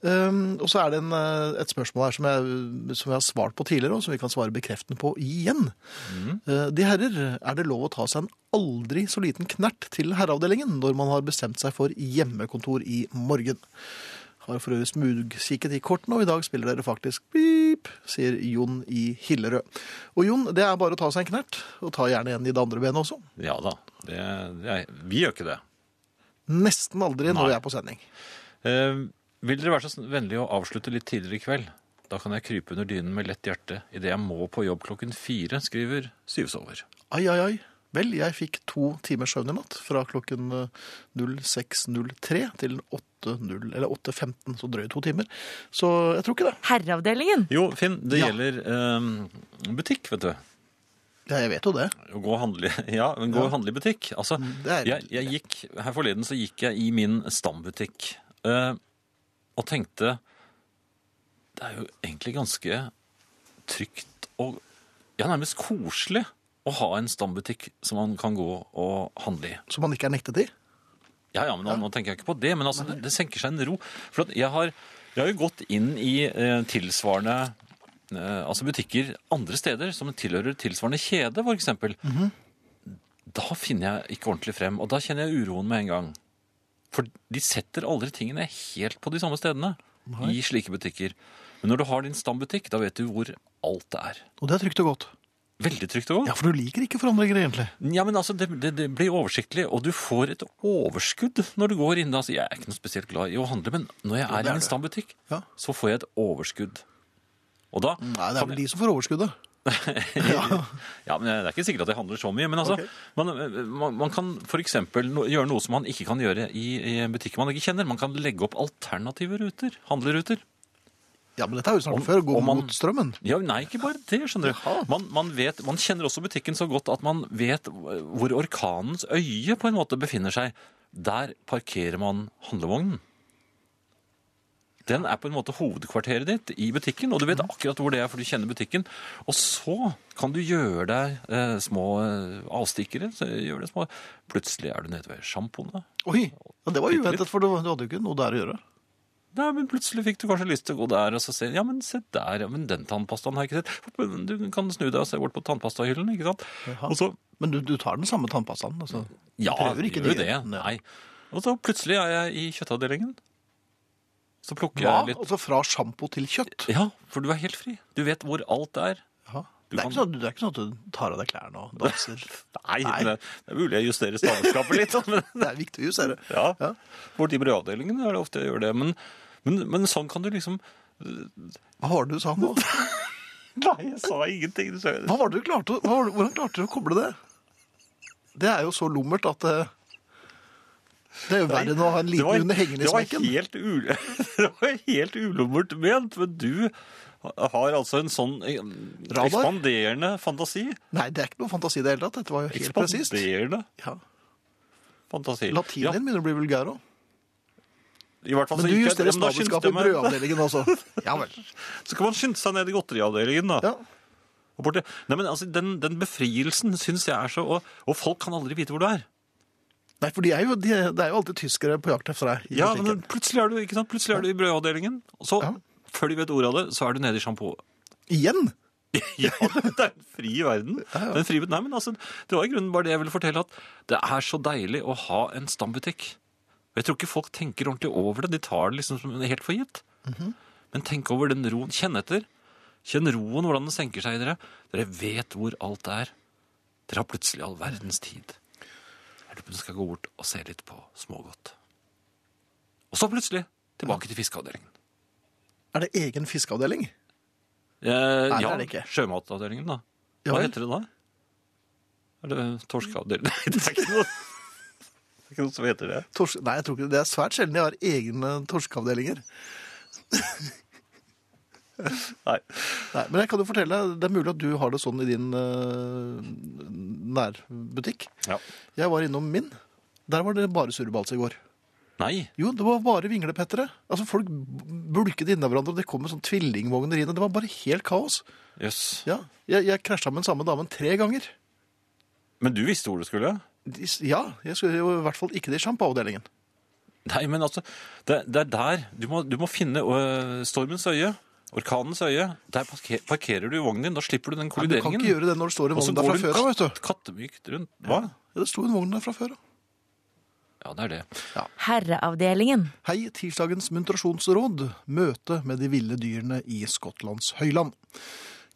[SPEAKER 1] Um, og så er det en, eh, et spørsmål her som jeg, som jeg har svart på tidligere, og som vi kan svare bekreftende på igjen. Eh, de herrer, er det lov å ta seg en aldri så liten knert til herreavdelingen når man har bestemt seg for hjemmekontor i morgen? Har for øvrig smugkikket i kortene, og i dag spiller dere faktisk pip, sier Jon i Hillerød. Og Jon, det er bare å ta seg en knert, og ta gjerne en i det andre benet også.
[SPEAKER 2] Ja da. Det, det er, vi gjør ikke det.
[SPEAKER 1] Nesten aldri når
[SPEAKER 2] Nei.
[SPEAKER 1] vi er på sending.
[SPEAKER 2] Eh, vil dere være så sn- vennlige å avslutte litt tidligere i kveld? Da kan jeg krype under dynen med lett hjerte idet jeg må på jobb klokken fire, skriver Syvsover.
[SPEAKER 1] Ai, ai, ai. Vel, jeg fikk to timers søvn i natt, fra klokken eh, 06.03 til 8.0 eller 8.15, så drøye to timer. Så jeg tror ikke det.
[SPEAKER 3] Herreavdelingen.
[SPEAKER 2] Jo, Finn, det
[SPEAKER 1] Ja.
[SPEAKER 2] gjelder eh, butikk, vet du.
[SPEAKER 1] Ja, jeg vet jo det.
[SPEAKER 2] Å gå og handle, ja, men gå
[SPEAKER 1] Ja. Mm,
[SPEAKER 2] og handle i butikk. Altså,
[SPEAKER 1] det er-
[SPEAKER 2] jeg, jeg gikk, her forleden så gikk jeg i min stambutikk eh, og tenkte Det er jo egentlig ganske trygt og ja, nærmest koselig å ha en stambutikk som man kan gå og handle i.
[SPEAKER 1] Som man ikke er nektet i.
[SPEAKER 2] Ja, ja, men nå, nå tenker jeg ikke på det, men altså, det, det senker seg en ro. For at jeg, har, jeg har jo gått inn i eh, tilsvarende eh, altså butikker andre steder som tilhører tilsvarende kjede, for eksempel. Da finner jeg ikke ordentlig frem, og da kjenner jeg uroen med en gang. For de setter aldri tingene helt på de samme stedene i slike butikker. Men når du har din stambutikk, da vet du hvor alt er.
[SPEAKER 1] Og det er trygt og godt.
[SPEAKER 2] Veldig trygt og godt.
[SPEAKER 1] Ja, for du liker ikke forandringer, egentlig.
[SPEAKER 2] Ja, men altså, det, det, det blir oversiktlig, og du får et overskudd når du går inn. Altså, jeg er ikke noe spesielt glad i å handle, men når
[SPEAKER 1] det
[SPEAKER 2] jeg er i
[SPEAKER 1] er
[SPEAKER 2] en
[SPEAKER 1] det.
[SPEAKER 2] stambutikk,
[SPEAKER 1] Ja.
[SPEAKER 2] så får jeg et overskudd. Og da
[SPEAKER 1] Nei, det er vel de som får overskuddet. ja.
[SPEAKER 2] Ja, men Det er ikke sikkert at jeg handler så mye, men altså,
[SPEAKER 1] Ok.
[SPEAKER 2] man, man, man kan f.eks. No, gjøre noe som man ikke kan gjøre i, i butikker man ikke kjenner. Man kan legge opp alternative ruter. Handleruter.
[SPEAKER 1] ja, men dette er jo snart
[SPEAKER 2] Om-
[SPEAKER 1] før. Gå
[SPEAKER 2] om man-
[SPEAKER 1] mot strømmen.
[SPEAKER 2] Ja, Nei, ikke bare det. skjønner du.
[SPEAKER 1] Jaha.
[SPEAKER 2] Man, man, vet, man kjenner også butikken så godt at man vet hvor orkanens øye på en måte befinner seg. Der parkerer man handlevognen. Den er på en måte hovedkvarteret ditt i butikken, og du vet akkurat hvor det er, for du kjenner butikken. Og så kan du gjøre deg eh, små eh, avstikkere. Så gjør deg små. Plutselig er du nede ved sjampoene.
[SPEAKER 1] Oi, ja, det var uventet, for du du hadde jo ikke noe der å gjøre.
[SPEAKER 2] Nei, men plutselig fikk du kanskje lyst til å gå der og så se Ja, men se der, ja, men den tannpastaen har jeg ikke sett. Du kan snu deg og se bort på tannpastahyllen, ikke sant?
[SPEAKER 1] Jaha.
[SPEAKER 2] Og så
[SPEAKER 1] Men du, du tar den samme tannpastaen. Altså.
[SPEAKER 2] Ja,
[SPEAKER 1] Du prøver
[SPEAKER 2] det
[SPEAKER 1] ikke
[SPEAKER 2] gjør jo
[SPEAKER 1] de-
[SPEAKER 2] det.
[SPEAKER 1] Nei.
[SPEAKER 2] Nei. Og så plutselig er jeg i kjøttavdelingen. Så plukker
[SPEAKER 1] Hva?
[SPEAKER 2] jeg litt
[SPEAKER 1] Altså fra sjampo til kjøtt?
[SPEAKER 2] Ja, for du er helt fri. Du vet hvor alt er.
[SPEAKER 1] Jaha. Det er,
[SPEAKER 2] Du kan-
[SPEAKER 1] ikke sånn, det er ikke sånn at du tar av deg klærne og danser?
[SPEAKER 2] Nei,
[SPEAKER 1] Nei.
[SPEAKER 2] Det, det er mulig jeg justerer stavelskapet litt. sånn, Men,
[SPEAKER 1] Det er viktig å justere.
[SPEAKER 2] ja.
[SPEAKER 1] Ja.
[SPEAKER 2] Borti brødavdelingen er det ofte jeg gjør det. Men, men, men sånn kan du liksom
[SPEAKER 1] Hva var det du sa nå?
[SPEAKER 2] Nei, jeg sa ingenting. Du sa
[SPEAKER 1] Hva var det du klarte, å- hva var, det- hvordan klarte du å koble det? Det er jo så lummert at det, det er jo verre enn å ha en
[SPEAKER 2] Det
[SPEAKER 1] liten
[SPEAKER 2] var-
[SPEAKER 1] hund hengende i smekken.
[SPEAKER 2] Det var helt, ul det var helt ulommert ment, men du har altså en sånn eh,
[SPEAKER 1] Radar?
[SPEAKER 2] ekspanderende fantasi.
[SPEAKER 1] Nei, det er ikke noe fantasi i det hele tatt. Dette var jo helt presist.
[SPEAKER 2] Ekspanderende
[SPEAKER 1] Ja.
[SPEAKER 2] fantasi.
[SPEAKER 1] Latinen
[SPEAKER 2] Ja,
[SPEAKER 1] din begynner å bli vulgær òg.
[SPEAKER 2] I hvert fall
[SPEAKER 1] Men
[SPEAKER 2] så
[SPEAKER 1] du
[SPEAKER 2] gikk jeg-
[SPEAKER 1] justerer
[SPEAKER 2] men da skyndte
[SPEAKER 1] stavelskapet
[SPEAKER 2] jeg
[SPEAKER 1] i
[SPEAKER 2] meg-
[SPEAKER 1] brødavdelingen også. Ja vel.
[SPEAKER 2] Så kan man skynde seg ned i godteriavdelingen, da.
[SPEAKER 1] Ja.
[SPEAKER 2] Og borte. Nei, men altså, den, den befrielsen syns jeg er så og, og folk kan aldri vite hvor du er.
[SPEAKER 1] Nei, for de er jo, de, det er jo alltid tyskere på jakt etter deg. i
[SPEAKER 2] Ja,
[SPEAKER 1] butikken.
[SPEAKER 2] men plutselig er du, ikke sant? Plutselig er du i brødavdelingen, og så,
[SPEAKER 1] Ja.
[SPEAKER 2] før de vet ordet av det, så er du nede i sjampo.
[SPEAKER 1] Igjen?
[SPEAKER 2] Ja, det er en fri verden. Den frie, nei, men altså, det var i grunnen bare det jeg ville fortelle, at det er så deilig å ha en stambutikk. Og jeg tror ikke folk tenker ordentlig over det, de tar det liksom som helt for gitt. Men tenk over den roen, kjenn etter. Kjenn roen, hvordan den senker seg i dere. Dere vet hvor alt er. Dere har plutselig all verdens tid. Jeg lurer på om dere skal gå bort og se litt på smågodt. Og så plutselig tilbake til fiskeavdelingen.
[SPEAKER 1] Er det egen fiskeavdeling?
[SPEAKER 2] Eh,
[SPEAKER 1] Nei, det
[SPEAKER 2] ja,
[SPEAKER 1] er det ikke.
[SPEAKER 2] sjømatavdelingen, da.
[SPEAKER 1] Ja
[SPEAKER 2] Hva
[SPEAKER 1] vel.
[SPEAKER 2] heter det da? Er det torskeavdelingen? Nei, det er ikke noe Det er ikke noe som heter det.
[SPEAKER 1] Tors Nei, jeg tror ikke det. det er svært sjelden de har egne torskeavdelinger.
[SPEAKER 2] Nei.
[SPEAKER 1] Nei, men jeg kan jo fortelle, deg, det er mulig at du har det sånn i din eh, nærbutikk.
[SPEAKER 2] Ja.
[SPEAKER 1] Jeg var innom min. Der var det bare surrebals i går.
[SPEAKER 2] Nei.
[SPEAKER 1] Jo, det var bare vinglepettere. Altså, Folk bulket inni hverandre, og det kom med sånn tvillingvogner inn. og Det var bare helt kaos.
[SPEAKER 2] Jøss.
[SPEAKER 1] Ja, Jeg, jeg krasja med den samme damen tre ganger.
[SPEAKER 2] Men du visste hvor du skulle?
[SPEAKER 1] De s- Ja, jeg skulle jo i hvert fall ikke til sjampoavdelingen.
[SPEAKER 2] Nei, men altså, det, det er der. Du må, du må finne øh, stormens øye, orkanens øye. Der parker, parkerer du vognen din, da slipper du den
[SPEAKER 1] Men du kan
[SPEAKER 2] kollideringen.
[SPEAKER 1] ikke gjøre det når det står en
[SPEAKER 2] Og så
[SPEAKER 1] vogn der
[SPEAKER 2] går
[SPEAKER 1] fra
[SPEAKER 2] du
[SPEAKER 1] før av, vet du.
[SPEAKER 2] katt- kattemykt rundt. Hva?
[SPEAKER 1] Ja, det sto en vogn der fra før av.
[SPEAKER 2] Ja, det er det.
[SPEAKER 3] Herreavdelingen.
[SPEAKER 1] Hei, tirsdagens muntrasjonsråd. Møte med de ville dyrene i Skottlands høyland.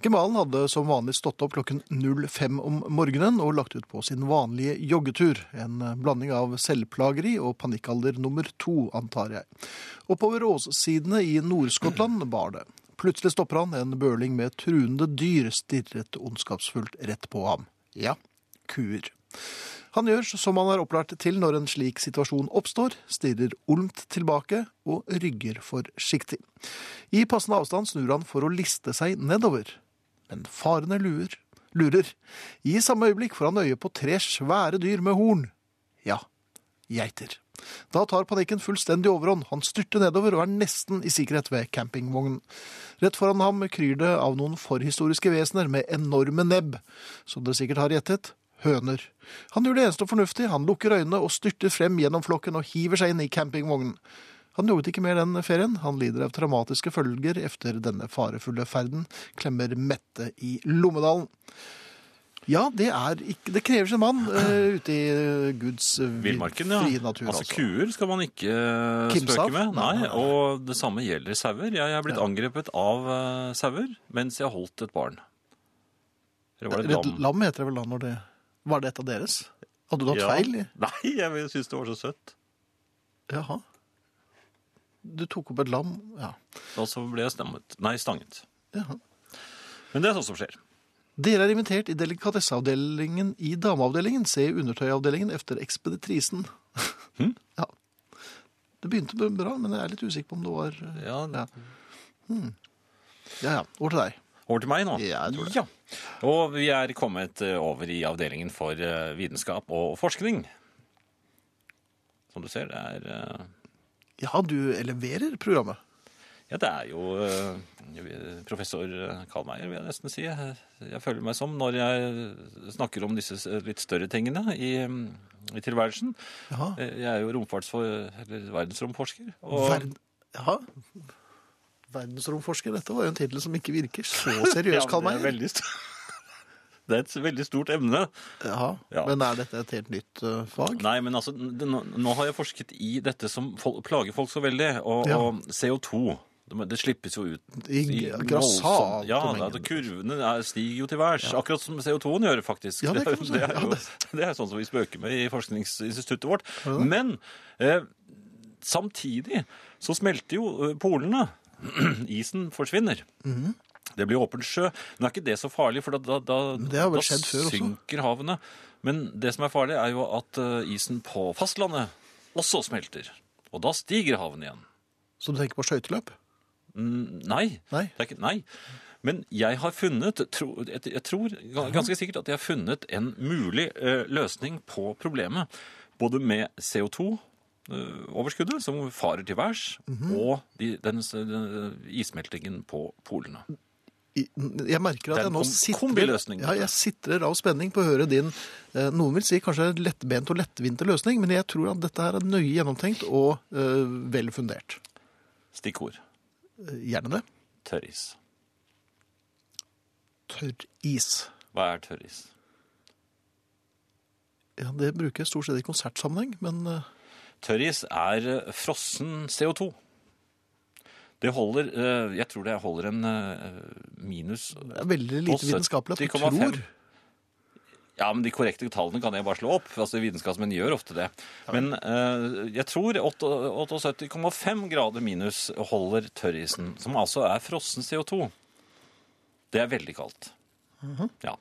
[SPEAKER 1] Gemalen hadde som vanlig stått opp klokken 05 om morgenen og lagt ut på sin vanlige joggetur. En blanding av selvplageri og panikkalder nummer to, antar jeg. Oppover åssidene i Nord-Skottland bar det. Plutselig stopper han. En bøling med truende dyr stirret ondskapsfullt rett på ham. Ja, kuer. Han gjør som han er opplært til når en slik situasjon oppstår, stirrer olmt tilbake og rygger forsiktig. I passende avstand snur han for å liste seg nedover. Men farene lurer. lurer. I samme øyeblikk får han øye på tre svære dyr med horn. Ja, geiter. Da tar panikken fullstendig overhånd. Han styrter nedover og er nesten i sikkerhet ved campingvognen. Rett foran ham kryr det av noen forhistoriske vesener med enorme nebb. Som dere sikkert har gjettet høner. Han gjør det eneste fornuftige. Han lukker øynene og styrter frem gjennom flokken og hiver seg inn i campingvognen. Han jobbet ikke mer den ferien. Han lider av traumatiske følger efter denne farefulle ferden, klemmer Mette i Lommedalen. Ja, det er ikke Det krever sin mann eh, ute i Guds eh,
[SPEAKER 2] Villmarken, ja.
[SPEAKER 1] frie natur,
[SPEAKER 2] altså,
[SPEAKER 1] altså.
[SPEAKER 2] kuer skal man ikke eh,
[SPEAKER 1] Kimse av?
[SPEAKER 2] spøke med.
[SPEAKER 1] Nei,
[SPEAKER 2] Nei,
[SPEAKER 1] nei, nei.
[SPEAKER 2] og det samme gjelder sauer. Jeg er blitt angrepet av eh, sauer mens jeg holdt et barn. Eller var det et
[SPEAKER 1] Lam.
[SPEAKER 2] lam?
[SPEAKER 1] lam heter det vel da når det Var det et av deres? Hadde du tatt feil?
[SPEAKER 2] Nei, jeg syns det var så søtt.
[SPEAKER 1] Jaha. Du tok opp et lam? Ja.
[SPEAKER 2] Og så ble jeg stammet. Nei, stanget.
[SPEAKER 1] Jaha.
[SPEAKER 2] Men det er sånt som skjer.
[SPEAKER 1] Dere er invitert i delikatesseavdelingen i dameavdelingen. Se undertøyavdelingen efter ekspeditrisen.
[SPEAKER 2] Hm?
[SPEAKER 1] ja. Det begynte b- bra, men jeg er litt usikker på om det var eh,
[SPEAKER 2] Ja,
[SPEAKER 1] Ja. Ja, ja. Over til deg.
[SPEAKER 2] Over til meg nå.
[SPEAKER 1] Ja, jeg tror det.
[SPEAKER 2] Ja. Og vi er kommet eh, over i avdelingen for eh, vitenskap og forskning. Som du ser, det er eh,
[SPEAKER 1] Ja, du leverer programmet.
[SPEAKER 2] Ja, det er jo eh, professor Karl Meier, vil jeg nesten si. Jeg føler meg som når jeg snakker om disse litt større tingene i, i tilværelsen.
[SPEAKER 1] Jaha.
[SPEAKER 2] Eh, Jeg er jo romfartsfor... eller verdensromforsker. Eh, Og,
[SPEAKER 1] Verd... Jaha. Verdensromforsker. Dette var jo en tittel som ikke virker så seriøs, kall
[SPEAKER 2] Ja, men det
[SPEAKER 1] meg.
[SPEAKER 2] er veldig st- Det er et veldig stort emne.
[SPEAKER 1] Jaha.
[SPEAKER 2] Ja.
[SPEAKER 1] Men er dette et helt nytt eh, fag?
[SPEAKER 2] Nei, men altså, det, nå, nå har jeg forsket i dette som fol plager folk så veldig, og,
[SPEAKER 1] Ja.
[SPEAKER 2] og CO2. Det, det slippes jo ut.
[SPEAKER 1] I grassat
[SPEAKER 2] voldsom- Ja,
[SPEAKER 1] mengder.
[SPEAKER 2] altså, kurvene er, stiger jo til værs. Akkurat som CO2-en gjør, faktisk.
[SPEAKER 1] Ja, det kan man si.
[SPEAKER 2] det,
[SPEAKER 1] Ja,
[SPEAKER 2] er jo,
[SPEAKER 1] det-
[SPEAKER 2] det er sånn som vi spøker med i forskningsinstituttet vårt. Men eh, samtidig så smelter jo eh, polene. Isen forsvinner. Det blir åpen sjø. Men er ikke det så farlig, for da, da, da,
[SPEAKER 1] det har vel
[SPEAKER 2] da
[SPEAKER 1] skjedd før også.
[SPEAKER 2] synker havene. Men det som er farlig, er jo at eh, isen på fastlandet også smelter. Og da stiger havene igjen.
[SPEAKER 1] Så du tenker på skøyteløp?
[SPEAKER 2] Mm, Nei.
[SPEAKER 1] Nei.
[SPEAKER 2] Det er ikke, nei. Men jeg har funnet, tro, jeg, jeg tror ganske sikkert at jeg har funnet en mulig eh, løsning på problemet. Både med CO2-overskuddet, eh, som farer til værs,
[SPEAKER 1] Mhm.
[SPEAKER 2] og de, den, s- den eh, issmeltingen på polene.
[SPEAKER 1] I- Jeg merker
[SPEAKER 2] Det
[SPEAKER 1] at
[SPEAKER 2] er
[SPEAKER 1] jeg
[SPEAKER 2] en
[SPEAKER 1] nå
[SPEAKER 2] kom-
[SPEAKER 1] sitrer,
[SPEAKER 2] kombiløsning,
[SPEAKER 1] ja,
[SPEAKER 2] dette.
[SPEAKER 1] jeg sitrer av spenning på å høre din eh, Noen vil si kanskje lettbent og lettvinte løsning, men jeg tror at dette her er nøye gjennomtenkt og eh, vel fundert.
[SPEAKER 2] Stikkord.
[SPEAKER 1] Eh, Gjerne det.
[SPEAKER 2] Tørris.
[SPEAKER 1] Tørr is.
[SPEAKER 2] Hva er tørris?
[SPEAKER 1] Ja, det bruker jeg stort sett i konsertsammenheng, men eh,
[SPEAKER 2] Tørris er eh, frossen CO2. Det holder eh, Jeg tror det holder en eh, minus
[SPEAKER 1] det er veldig lite vitenskapelig at du
[SPEAKER 2] 70,5.
[SPEAKER 1] tror.
[SPEAKER 2] Ja, men De korrekte tallene kan jeg bare slå opp. Altså, Vitenskapsmenn gjør ofte det. Men eh, jeg tror 78,5 grader minus holder tørrisen, som altså er frossen CO2. Det er veldig kaldt.
[SPEAKER 1] Mhm.
[SPEAKER 2] ja.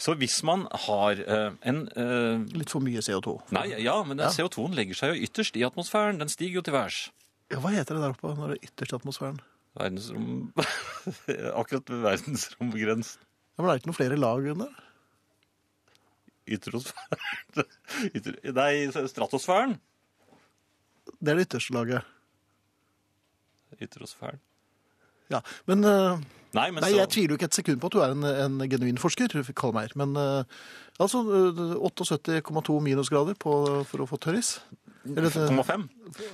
[SPEAKER 2] Så hvis man har eh, en eh,
[SPEAKER 1] Litt for mye CO2.
[SPEAKER 2] Nei, ja, men den CO2-en legger seg jo ytterst i atmosfæren. Den stiger jo til værs.
[SPEAKER 1] Ja, hva heter det der oppe når det er ytterst i atmosfæren?
[SPEAKER 2] Verdensrom Akkurat ved verdensromgrensen.
[SPEAKER 1] Ja, men er det ikke noen flere lag enn det?
[SPEAKER 2] Ytterosfæren Ytter... Nei, stratosfæren.
[SPEAKER 1] Det er det ytterste laget.
[SPEAKER 2] Ytterosfæren.
[SPEAKER 1] Ja, men... eh,
[SPEAKER 2] Nei, men
[SPEAKER 1] Nei,
[SPEAKER 2] så...
[SPEAKER 1] jeg tviler jo ikke et sekund på at du er en, en genuin forsker, kall meg. Men eh, altså eh, 78,2 minusgrader på, for å få tørris. Eller dette-
[SPEAKER 2] 5,5.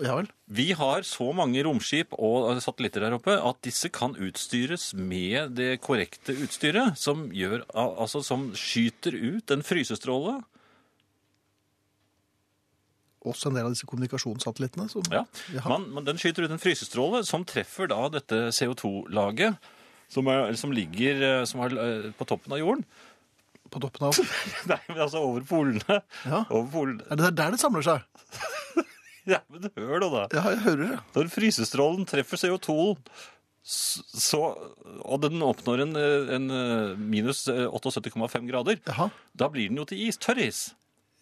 [SPEAKER 1] Ja vel.
[SPEAKER 2] Vi har så mange romskip og satellitter der oppe at disse kan utstyres med det korrekte utstyret, som, gjør, al- altså, som skyter ut en frysestråle.
[SPEAKER 1] Også en del av disse kommunikasjonssatellittene. Som,
[SPEAKER 2] Ja.
[SPEAKER 1] Jaha.
[SPEAKER 2] Man, man, den skyter ut en frysestråle som treffer da dette CO2-laget som, er, som ligger eh, som er, eh, på toppen av jorden.
[SPEAKER 1] På toppen av
[SPEAKER 2] Nei, men altså over polene.
[SPEAKER 1] Ja.
[SPEAKER 2] Over polene.
[SPEAKER 1] Er det der- der det samler seg?
[SPEAKER 2] Ja, men hør da, da.
[SPEAKER 1] Ja, jeg hører det.
[SPEAKER 2] Når frysestrålen treffer CO2, s- så, og den oppnår en, eh, en eh, minus eh, 78,5 grader,
[SPEAKER 1] Jaha.
[SPEAKER 2] da blir den jo til is, tørris.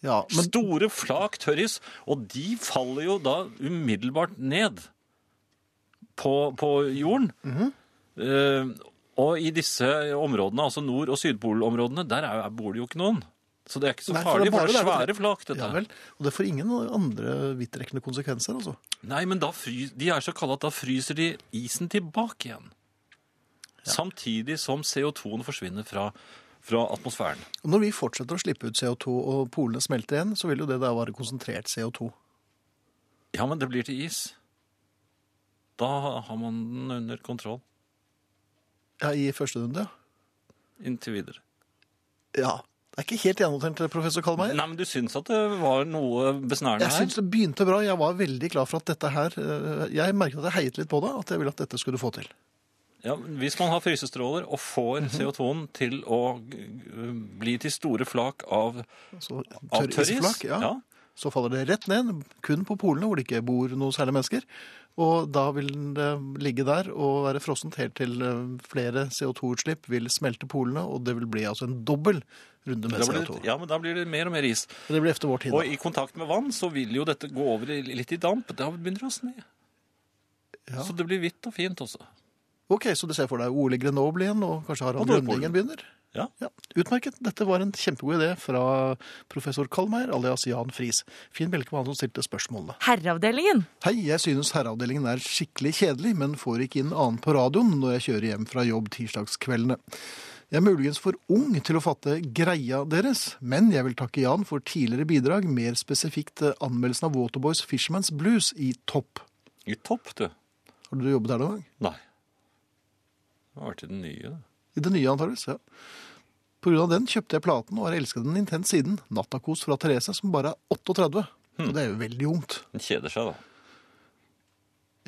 [SPEAKER 1] Ja, men
[SPEAKER 2] Store, flak tørris, og de faller jo da umiddelbart ned på, på jorden. Eh, og i disse områdene, altså nord- og sydpolområdene, der er, bor det jo ikke noen. Så det er ikke så
[SPEAKER 1] Nei, for det er
[SPEAKER 2] farlig, for det er
[SPEAKER 1] bare der-
[SPEAKER 2] svære flak, dette.
[SPEAKER 1] ja
[SPEAKER 2] her.
[SPEAKER 1] vel. Og det får ingen andre vidtrekkende konsekvenser, altså.
[SPEAKER 2] Nei, men da fry, de er så kalde at da fryser de isen tilbake igjen. Samtidig som CO2-en forsvinner fra, fra atmosfæren.
[SPEAKER 1] Og når vi fortsetter å slippe ut CO2 og polene smelter igjen, så vil jo det da være konsentrert CO2.
[SPEAKER 2] Ja, men det blir til is. Da har man den under kontroll
[SPEAKER 1] Ja, I første runde, ja.
[SPEAKER 2] inntil videre.
[SPEAKER 1] Ja. Det er ikke helt gjennomtenkt, professor Kalmeier.
[SPEAKER 2] Nei, men du syns at det var noe besnærende
[SPEAKER 1] Jeg
[SPEAKER 2] her?
[SPEAKER 1] syns det begynte bra. Jeg var veldig glad for at dette her eh, Jeg merket at jeg heiet litt på det, at jeg ville at dette skulle du få til.
[SPEAKER 2] Ja, hvis man har frysestråler og får
[SPEAKER 1] Mhm.
[SPEAKER 2] CO2-en til å øh, bli til store flak av,
[SPEAKER 1] Så
[SPEAKER 2] av
[SPEAKER 1] tørr
[SPEAKER 2] tørris
[SPEAKER 1] isflak, ja. Så faller det rett ned, kun på polene hvor det ikke bor noe særlig mennesker. Og da vil det ligge der og være frossent helt til eh, flere CO2-utslipp vil smelte polene, og det vil bli altså en dobbel runde med
[SPEAKER 2] Da blir
[SPEAKER 1] CO2.
[SPEAKER 2] det, ja, men da blir det mer og mer is.
[SPEAKER 1] Det blir efter vår tid.
[SPEAKER 2] Og
[SPEAKER 1] da.
[SPEAKER 2] i kontakt med vann så vil jo dette gå over i- litt i damp. Da begynner det å sne.
[SPEAKER 1] Ja.
[SPEAKER 2] Så det blir hvitt og fint også.
[SPEAKER 1] Ok, så du ser for deg Ole Grenoble igjen, og kanskje
[SPEAKER 2] Og
[SPEAKER 1] Harald
[SPEAKER 2] Nordpolen.
[SPEAKER 1] Grønningen begynner?
[SPEAKER 2] Ja.
[SPEAKER 1] Utmerket. Dette var en kjempegod idé fra professor Kalmeier, alias Jan Friis. Finn Bjelke var han som stilte spørsmålene.
[SPEAKER 3] Herreavdelingen.
[SPEAKER 1] Hei, jeg synes herreavdelingen er skikkelig kjedelig, men får ikke inn annet på radioen når jeg kjører hjem fra jobb tirsdagskveldene. Jeg er muligens for ung til å fatte greia deres, men jeg vil takke Jan for tidligere bidrag, mer spesifikt eh, anmeldelsen av Waterboys Fisherman's Blues i Topp.
[SPEAKER 2] I topp, du.
[SPEAKER 1] Har du jobbet der noen gang?
[SPEAKER 2] Nei. Det har vært i den nye. det.
[SPEAKER 1] I det nye, antageligvis. Ja. På grunn av den kjøpte jeg platen og har elsket den intens siden. Nattakos fra Therese, som bare er 38.
[SPEAKER 2] Hmm.
[SPEAKER 1] Og det er jo veldig ungt.
[SPEAKER 2] Den kjeder seg, da.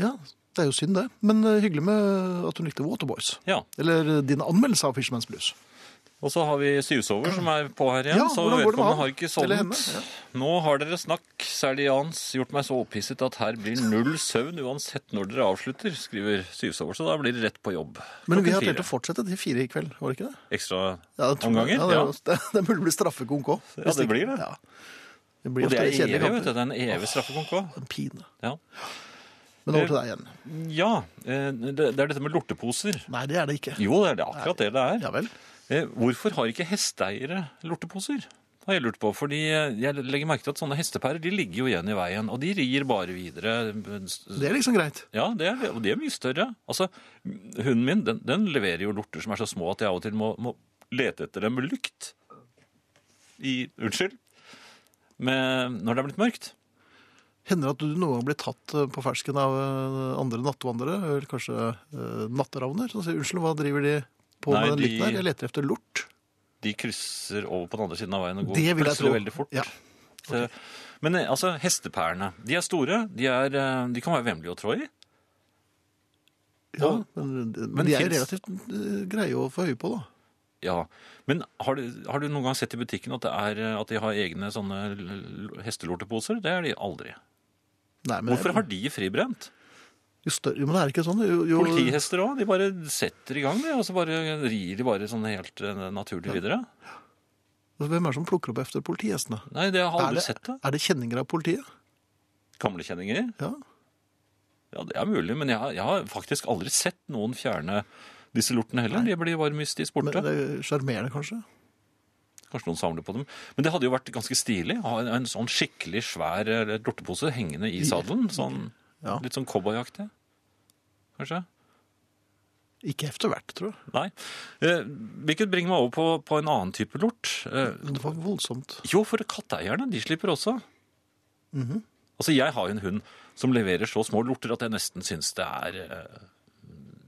[SPEAKER 1] Ja, det er jo synd, det. Men eh, hyggelig med at hun likte Waterboys.
[SPEAKER 2] Ja.
[SPEAKER 1] Eller eh, din anmeldelse av Fisherman's Blues.
[SPEAKER 2] Og så har vi Syvsover som er på her igjen.
[SPEAKER 1] Ja,
[SPEAKER 2] så
[SPEAKER 1] hvordan går det med
[SPEAKER 2] vedkommende
[SPEAKER 1] han?
[SPEAKER 2] har ikke
[SPEAKER 1] Eller
[SPEAKER 2] sovnet.
[SPEAKER 1] henne,
[SPEAKER 2] Nå har dere snakk, særlig Jans, gjort meg så opphisset at her blir null søvn uansett når dere avslutter, skriver Syvsover. Så da blir det rett på jobb.
[SPEAKER 1] Men
[SPEAKER 2] Klokken
[SPEAKER 1] vi har
[SPEAKER 2] fire.
[SPEAKER 1] tenkt å fortsette til fire i kveld, var det ikke det?
[SPEAKER 2] Ekstra
[SPEAKER 1] Ja, det tror jeg.
[SPEAKER 2] omganger?
[SPEAKER 1] Ja, det,
[SPEAKER 2] Ja,
[SPEAKER 1] er- det, det burde bli straffekonk òg.
[SPEAKER 2] Ja, det blir det.
[SPEAKER 1] Ja. Det blir
[SPEAKER 2] Og det
[SPEAKER 1] ofte
[SPEAKER 2] er evig,
[SPEAKER 1] kjedelige
[SPEAKER 2] vet du.
[SPEAKER 1] kamper.
[SPEAKER 2] Det er en evig straffekonk også.
[SPEAKER 1] En pine.
[SPEAKER 2] Ja.
[SPEAKER 1] Men over til deg igjen.
[SPEAKER 2] Ja, eh, det det er dette med lorteposer.
[SPEAKER 1] Nei, det er det ikke.
[SPEAKER 2] Jo, det er det akkurat det det er.
[SPEAKER 1] Ja vel.
[SPEAKER 2] Eh, Hvorfor har ikke hesteeiere lorteposer? har jeg lurt på, fordi eh, jeg legger merke til at sånne hestepærer de ligger jo igjen i veien, og de rir bare videre.
[SPEAKER 1] Det er liksom greit.
[SPEAKER 2] Ja, det er, og de er mye større. Altså, Hunden min den, den leverer jo lorter som er så små at jeg av og til må, må lete etter dem med lykt. I, unnskyld. Med, når det er blitt mørkt.
[SPEAKER 1] Hender det at du noen gang blir tatt eh, på fersken av eh, andre nattvandrere, eller kanskje eh, natteravner, som sier 'unnskyld, hva driver de på
[SPEAKER 2] Nei,
[SPEAKER 1] med den
[SPEAKER 2] de-
[SPEAKER 1] lykten her? Jeg leter etter lort'.
[SPEAKER 2] De krysser over på den andre siden av veien og går
[SPEAKER 1] Det vil jeg
[SPEAKER 2] plutselig
[SPEAKER 1] tro.
[SPEAKER 2] veldig fort.
[SPEAKER 1] Ja.
[SPEAKER 2] Så- Men eh, altså, hestepærene, de er store, de, er, eh, de kan være vemmelige å trå i.
[SPEAKER 1] Ja,
[SPEAKER 2] Og-
[SPEAKER 1] men, men,
[SPEAKER 2] men
[SPEAKER 1] de er jo
[SPEAKER 2] finnes-
[SPEAKER 1] relativt eh, greie å få høye på, da.
[SPEAKER 2] Ja, men har du, har du noen gang sett i butikken at, det er, eh, at de har egne sånne l- l- hestelorteposer? Det er de aldri.
[SPEAKER 1] Nei, men,
[SPEAKER 2] Hvorfor har de fribrent?
[SPEAKER 1] Jo større, jo, men det er ikke sånn. Jo, jo,
[SPEAKER 2] Politihester òg. De bare setter i gang, det, og så bare rir de bare sånn helt eh, naturlig videre.
[SPEAKER 1] altså, hvem er det som plukker opp efter politihestene?
[SPEAKER 2] Nei, det har jeg
[SPEAKER 1] Er
[SPEAKER 2] aldri
[SPEAKER 1] det,
[SPEAKER 2] sett det.
[SPEAKER 1] er det kjenninger av politiet?
[SPEAKER 2] Gamlekjenninger?
[SPEAKER 1] Ja.
[SPEAKER 2] Ja, det er mulig, men jeg, har- jeg har faktisk aldri sett noen fjerne disse lortene heller. De blir bare mystisk
[SPEAKER 1] Men
[SPEAKER 2] borte.
[SPEAKER 1] det er Sjarmerende, kanskje?
[SPEAKER 2] Kanskje noen samler på dem. Men det hadde jo vært ganske stilig å ha en, en sånn skikkelig svær eh, lortepose hengende i sadelen. Sånn,
[SPEAKER 1] Ja.
[SPEAKER 2] Litt sånn cowboyaktig, kanskje?
[SPEAKER 1] Ikke efter hvert, tror jeg.
[SPEAKER 2] Nei. Eh, hvilket bringer meg over på, på en annen type lort. Eh,
[SPEAKER 1] Men det var voldsomt. Mhm.
[SPEAKER 2] jo, for katteeierne, de slipper også. Altså, jeg har jo en hund som leverer så små lorter at jeg nesten syns det er eh,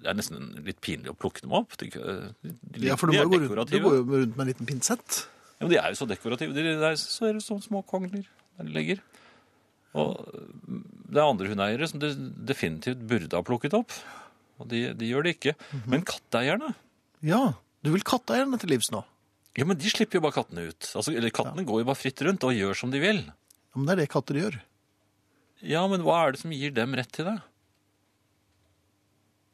[SPEAKER 2] det er nesten litt pinlig å plukke dem opp. De, de, de,
[SPEAKER 1] Ja, for du,
[SPEAKER 2] de
[SPEAKER 1] må jo gå rundt, du
[SPEAKER 2] er dekorative.
[SPEAKER 1] går jo rundt med en liten pinsett.
[SPEAKER 2] Ja, men de er jo så dekorative. De, de er så, er det sånne små kongler der de ligger. Og øh, det er andre hundeeiere som de definitivt burde ha plukket opp. Og de, de gjør det ikke. Men katteeierne,
[SPEAKER 1] Ja, du vil katteeierne til livs nå.
[SPEAKER 2] ja, men de slipper jo bare kattene ut. Altså, eller kattene går jo bare fritt rundt og gjør som de vil.
[SPEAKER 1] Ja, men det er det katter gjør.
[SPEAKER 2] Ja, men hva er det som gir dem rett til det?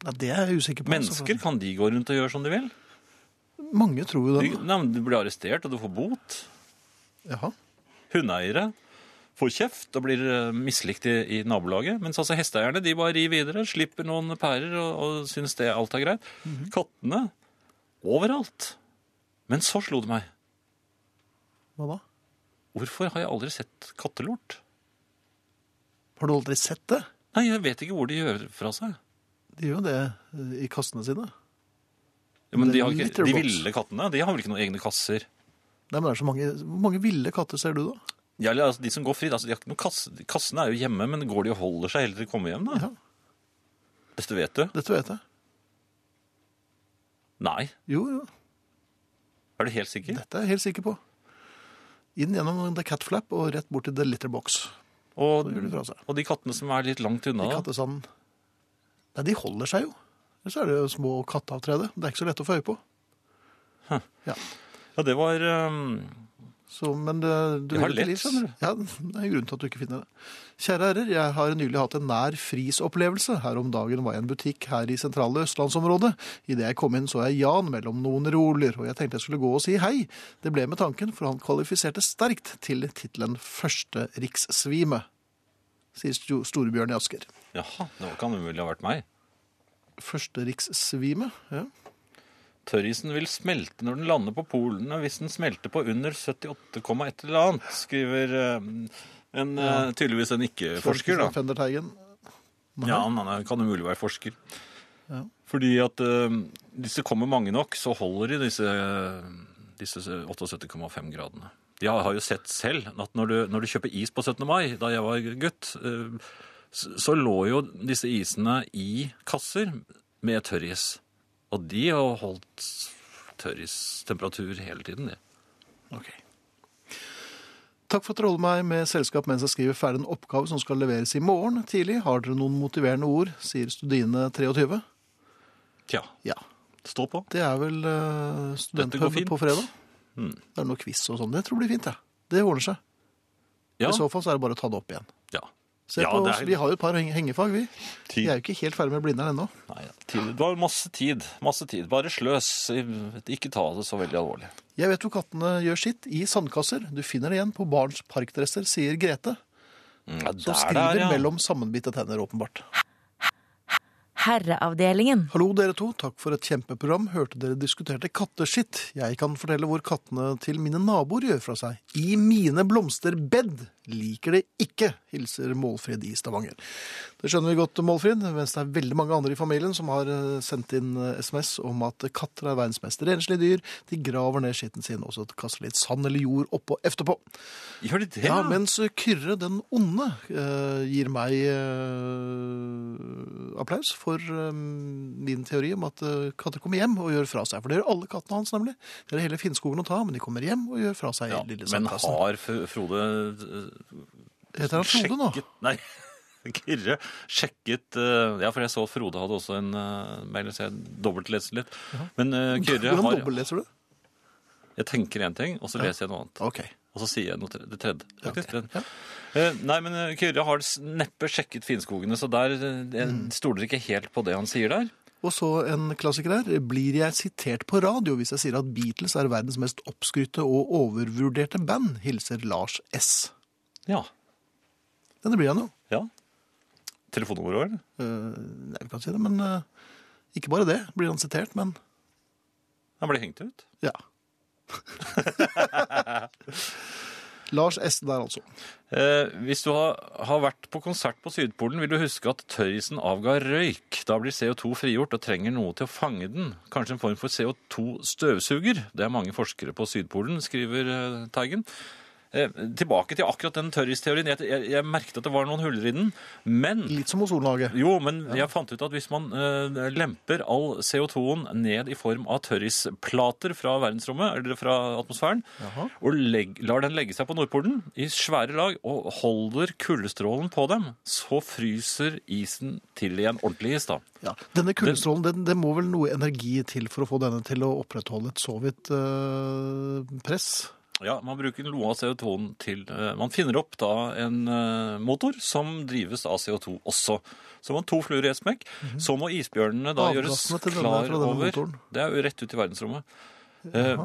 [SPEAKER 1] Ja, det er jeg usikker på. altså.
[SPEAKER 2] Mennesker, kan de gå rundt og gjøre som de vil?
[SPEAKER 1] Mange tror jo
[SPEAKER 2] De,
[SPEAKER 1] det.
[SPEAKER 2] nei, men du blir arrestert, og du får bot.
[SPEAKER 1] Jaha.
[SPEAKER 2] Hundeeiere får kjeft og blir eh, mislikt i, i nabolaget. Mens altså hesteeierne de bare rir videre, slipper noen pærer og, og syns det alt er greit. Kattene overalt. Men så slo det meg.
[SPEAKER 1] Hva da?
[SPEAKER 2] Hvorfor har jeg aldri sett kattelort?
[SPEAKER 1] Har du aldri sett det?
[SPEAKER 2] Nei, jeg vet ikke hvor de gjør fra seg.
[SPEAKER 1] De gjør jo det eh, i kassene sine.
[SPEAKER 2] Ja, men
[SPEAKER 1] Det
[SPEAKER 2] de,
[SPEAKER 1] er
[SPEAKER 2] har ikke, de
[SPEAKER 1] litterbox.
[SPEAKER 2] ville kattene de har vel ikke noen egne kasser?
[SPEAKER 1] Nei, men det er så mange, Hvor mange ville katter ser du, da?
[SPEAKER 2] Ja, eller, altså, de som går fritt, altså, de har ikke noen kasse. Kassene er jo hjemme, men går de og holder seg helt til de kommer hjem? da?
[SPEAKER 1] Ja.
[SPEAKER 2] Dette vet du?
[SPEAKER 1] Dette vet jeg.
[SPEAKER 2] Nei.
[SPEAKER 1] Jo, jo.
[SPEAKER 2] Er du helt sikker?
[SPEAKER 1] Dette er jeg helt sikker på. Inn gjennom the cat flap og rett bort til the litter box.
[SPEAKER 2] Og,
[SPEAKER 1] Da gjør de fra seg.
[SPEAKER 2] og de kattene som er litt langt unna? da?
[SPEAKER 1] Kattesanden. Nei, de holder seg jo. Ellers er det jo små katteavtrede. Det er ikke så lett å få øye på. Ja.
[SPEAKER 2] Ja, det var ehm,
[SPEAKER 1] Så, men det, du
[SPEAKER 2] Jeg har
[SPEAKER 1] vil til
[SPEAKER 2] lett,
[SPEAKER 1] livs.
[SPEAKER 2] skjønner du.
[SPEAKER 1] Ja, det er en grunn til at du ikke finner det. Kjære herrer, jeg har nylig hatt en nær frisopplevelse. Her om dagen var jeg i en butikk her i sentrale østlandsområdet. Idet jeg kom inn så jeg Jan mellom noen roller, og jeg tenkte jeg skulle gå og si hei. Det ble med tanken, for han kvalifiserte sterkt til tittelen Første rikssvime, sier Sto- Storebjørn i Asker.
[SPEAKER 2] Jaha, det kan umulig ha vært meg.
[SPEAKER 1] Første rikssvime, ja.
[SPEAKER 2] Tørrisen vil smelte når den lander på polene hvis den smelter på under 78,1 eller annet, skriver ehm, en, eh, tydeligvis en ikke-forsker. da.
[SPEAKER 1] Fender Teigen.
[SPEAKER 2] Ja, han han kan umulig være forsker.
[SPEAKER 1] Ja.
[SPEAKER 2] Fordi at ehm, hvis det kommer mange nok, så holder de disse, disse 78,5 gradene. Jeg har jo sett selv at når du, når du kjøper is på 17. mai, da jeg var gutt, eh, så så lå jo disse isene i kasser med tørris. Og de har holdt tørristemperatur hele tiden, de.
[SPEAKER 1] Ok. Takk for at dere holder meg med selskap mens jeg skriver ferdig en oppgave som skal leveres i morgen tidlig. Har dere noen motiverende ord, sier Studine 23.
[SPEAKER 2] Tja,
[SPEAKER 1] Ja,
[SPEAKER 2] stå på.
[SPEAKER 1] det er vel uh,
[SPEAKER 2] går
[SPEAKER 1] studentpub
[SPEAKER 2] fint.
[SPEAKER 1] på fredag.
[SPEAKER 2] Mm.
[SPEAKER 1] Det er noe quiz og sånn. Det tror jeg blir fint, jeg. Det ordner seg.
[SPEAKER 2] Ja,
[SPEAKER 1] I så fall så er det bare å ta det opp igjen.
[SPEAKER 2] ja.
[SPEAKER 1] Se
[SPEAKER 2] Ja,
[SPEAKER 1] på
[SPEAKER 2] det
[SPEAKER 1] oss.
[SPEAKER 2] er-
[SPEAKER 1] Vi har jo et par heng- hengefag, vi. Vi
[SPEAKER 2] Ti-
[SPEAKER 1] er jo ikke helt ferdig med Blindern ennå.
[SPEAKER 2] Nei, tid. Det var masse tid. Masse tid. Bare sløs. Ikke ta det så veldig alvorlig.
[SPEAKER 1] Jeg vet hvor kattene gjør sitt. I sandkasser. Du finner det igjen på barns parkdresser, sier Grete.
[SPEAKER 2] Mm, Ja,
[SPEAKER 1] Som
[SPEAKER 2] der,
[SPEAKER 1] skriver
[SPEAKER 2] der, ja.
[SPEAKER 1] mellom sammenbitte tenner, åpenbart.
[SPEAKER 3] Herreavdelingen.
[SPEAKER 1] Hallo dere to, takk for et kjempeprogram. Hørte dere diskuterte katteskitt. Jeg kan fortelle hvor kattene til mine naboer gjør fra seg. I mine blomsterbed liker det ikke, hilser Målfrid i Stavanger. Det skjønner vi godt, Målfrid, mens det er veldig mange andre i familien som har eh, sendt inn eh, SMS om at katter er verdens mest renslige dyr. De graver ned skitten sin og så kaster litt sand eller jord oppå efterpå.
[SPEAKER 2] Gjør de det?
[SPEAKER 1] Ja,
[SPEAKER 2] ja?
[SPEAKER 1] mens Kyrre den onde eh, gir meg eh, applaus for eh, min teori om at eh, katter kommer hjem og gjør fra seg. For det gjør alle kattene hans, nemlig. Det er hele Finnskogen å ta, men de kommer hjem og gjør fra seg.
[SPEAKER 2] Ja,
[SPEAKER 1] i lille
[SPEAKER 2] men
[SPEAKER 1] sandkassen.
[SPEAKER 2] har F- Frode eh,
[SPEAKER 1] Heter han Frode nå?
[SPEAKER 2] sjekket Nei, Kyrre sjekket eh, Ja, for jeg så Frode hadde også en eh, mail, så jeg dobbeltleste litt. Men eh, Kyrre
[SPEAKER 1] Hvordan
[SPEAKER 2] har
[SPEAKER 1] dobbeltleser du?
[SPEAKER 2] Jeg tenker én ting, og så leser jeg noe annet.
[SPEAKER 1] Ok.
[SPEAKER 2] Og så sier jeg noe tre, det tredje. faktisk.
[SPEAKER 1] ok. Ja.
[SPEAKER 2] Eh, Nei, men eh, Kyrre har s- neppe sjekket Finnskogene, så der eh, jeg
[SPEAKER 1] Mm.
[SPEAKER 2] stoler ikke helt på det han sier der.
[SPEAKER 1] Og så en klassiker her. Blir jeg sitert på radio hvis jeg sier at Beatles er verdens mest oppskrytte og overvurderte band? Hilser Lars S.
[SPEAKER 2] Ja.
[SPEAKER 1] Denne blir han jo.
[SPEAKER 2] ja. Telefonnummeret vårt?
[SPEAKER 1] Eh, nei, vi kan si det, men eh, ikke bare det. Blir han sitert, men
[SPEAKER 2] Han ble hengt ut.
[SPEAKER 1] Ja. Lars S. der, altså.
[SPEAKER 2] Eh, hvis du har, har vært på konsert på Sydpolen, vil du huske at tørrisen avga røyk. Da blir CO2 frigjort og trenger noe til å fange den. Kanskje en form for CO2-støvsuger. Det er mange forskere på Sydpolen, skriver eh, Teigen. eh, tilbake til akkurat den tørristeorien. Jeg, jeg, jeg merket at det var noen huller i den, men
[SPEAKER 1] Litt som ozonlaget.
[SPEAKER 2] jo, men jeg fant ut at hvis man eh, lemper all CO2-en ned i form av tørrisplater fra verdensrommet, eller fra atmosfæren,
[SPEAKER 1] Jaha.
[SPEAKER 2] og legg, lar den legge seg på Nordpolen i svære lag, og holder kuldestrålen på dem, så fryser isen til igjen ordentlig is da.
[SPEAKER 1] Ja. Denne kullestrålen, den, det må vel noe energi til for å få denne til å opprettholde et så vidt eh, press?
[SPEAKER 2] Ja, man bruker noe av CO2-en til eh, Man finner opp da en eh, motor som drives av CO2 også. Så man to fluer i ett smekk. Så må isbjørnene da gjøres
[SPEAKER 1] Mhm. Avgassene til denne-
[SPEAKER 2] klar
[SPEAKER 1] fra denne
[SPEAKER 2] over
[SPEAKER 1] motoren.
[SPEAKER 2] Det er jo rett ut i verdensrommet. Eh,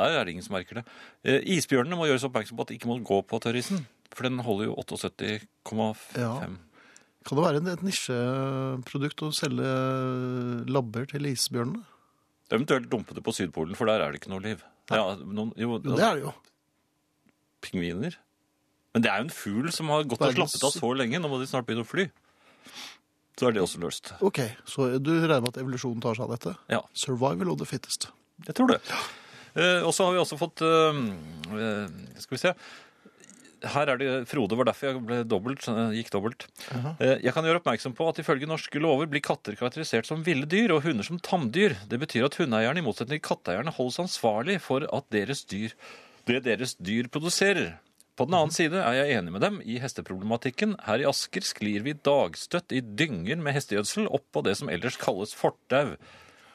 [SPEAKER 2] Der er det ingen som merker det. Eh, isbjørnene må gjøres oppmerksom på at de ikke må gå på tørrisen. For den holder jo 78,5
[SPEAKER 1] Ja. Kan det være en- et nisjeprodukt å selge labber til isbjørnene?
[SPEAKER 2] Eventuelt dumpe det på Sydpolen, for der er det ikke noe liv. Ja, noen, jo,
[SPEAKER 1] Jo, det er det jo.
[SPEAKER 2] pingviner. Men det er jo en fugl som har gått og
[SPEAKER 1] Verdens-
[SPEAKER 2] slappet av så lenge. Nå må de snart begynne å fly. Så er det også løst.
[SPEAKER 1] Ok, så du regner med at evolusjonen tar seg av dette?
[SPEAKER 2] Ja,
[SPEAKER 1] Survival of the fittest.
[SPEAKER 2] jeg tror det. Eh, og så har vi også fått eh, eh, Skal vi se. Her er det Frode var derfor jeg ble dobbelt, eh, gikk dobbelt. Eh, jeg kan gjøre oppmerksom på at ifølge norske lover blir katter karakterisert som ville dyr og hunder som tamdyr. Det betyr at hundeeierne i motsetning til katteeierne holdes ansvarlig for at deres dyr, det deres dyr produserer. På den annen side er jeg enig med dem i hesteproblematikken. Her i Asker sklir vi dagstøtt i dynger med hestegjødsel oppå det som ellers kalles fortau.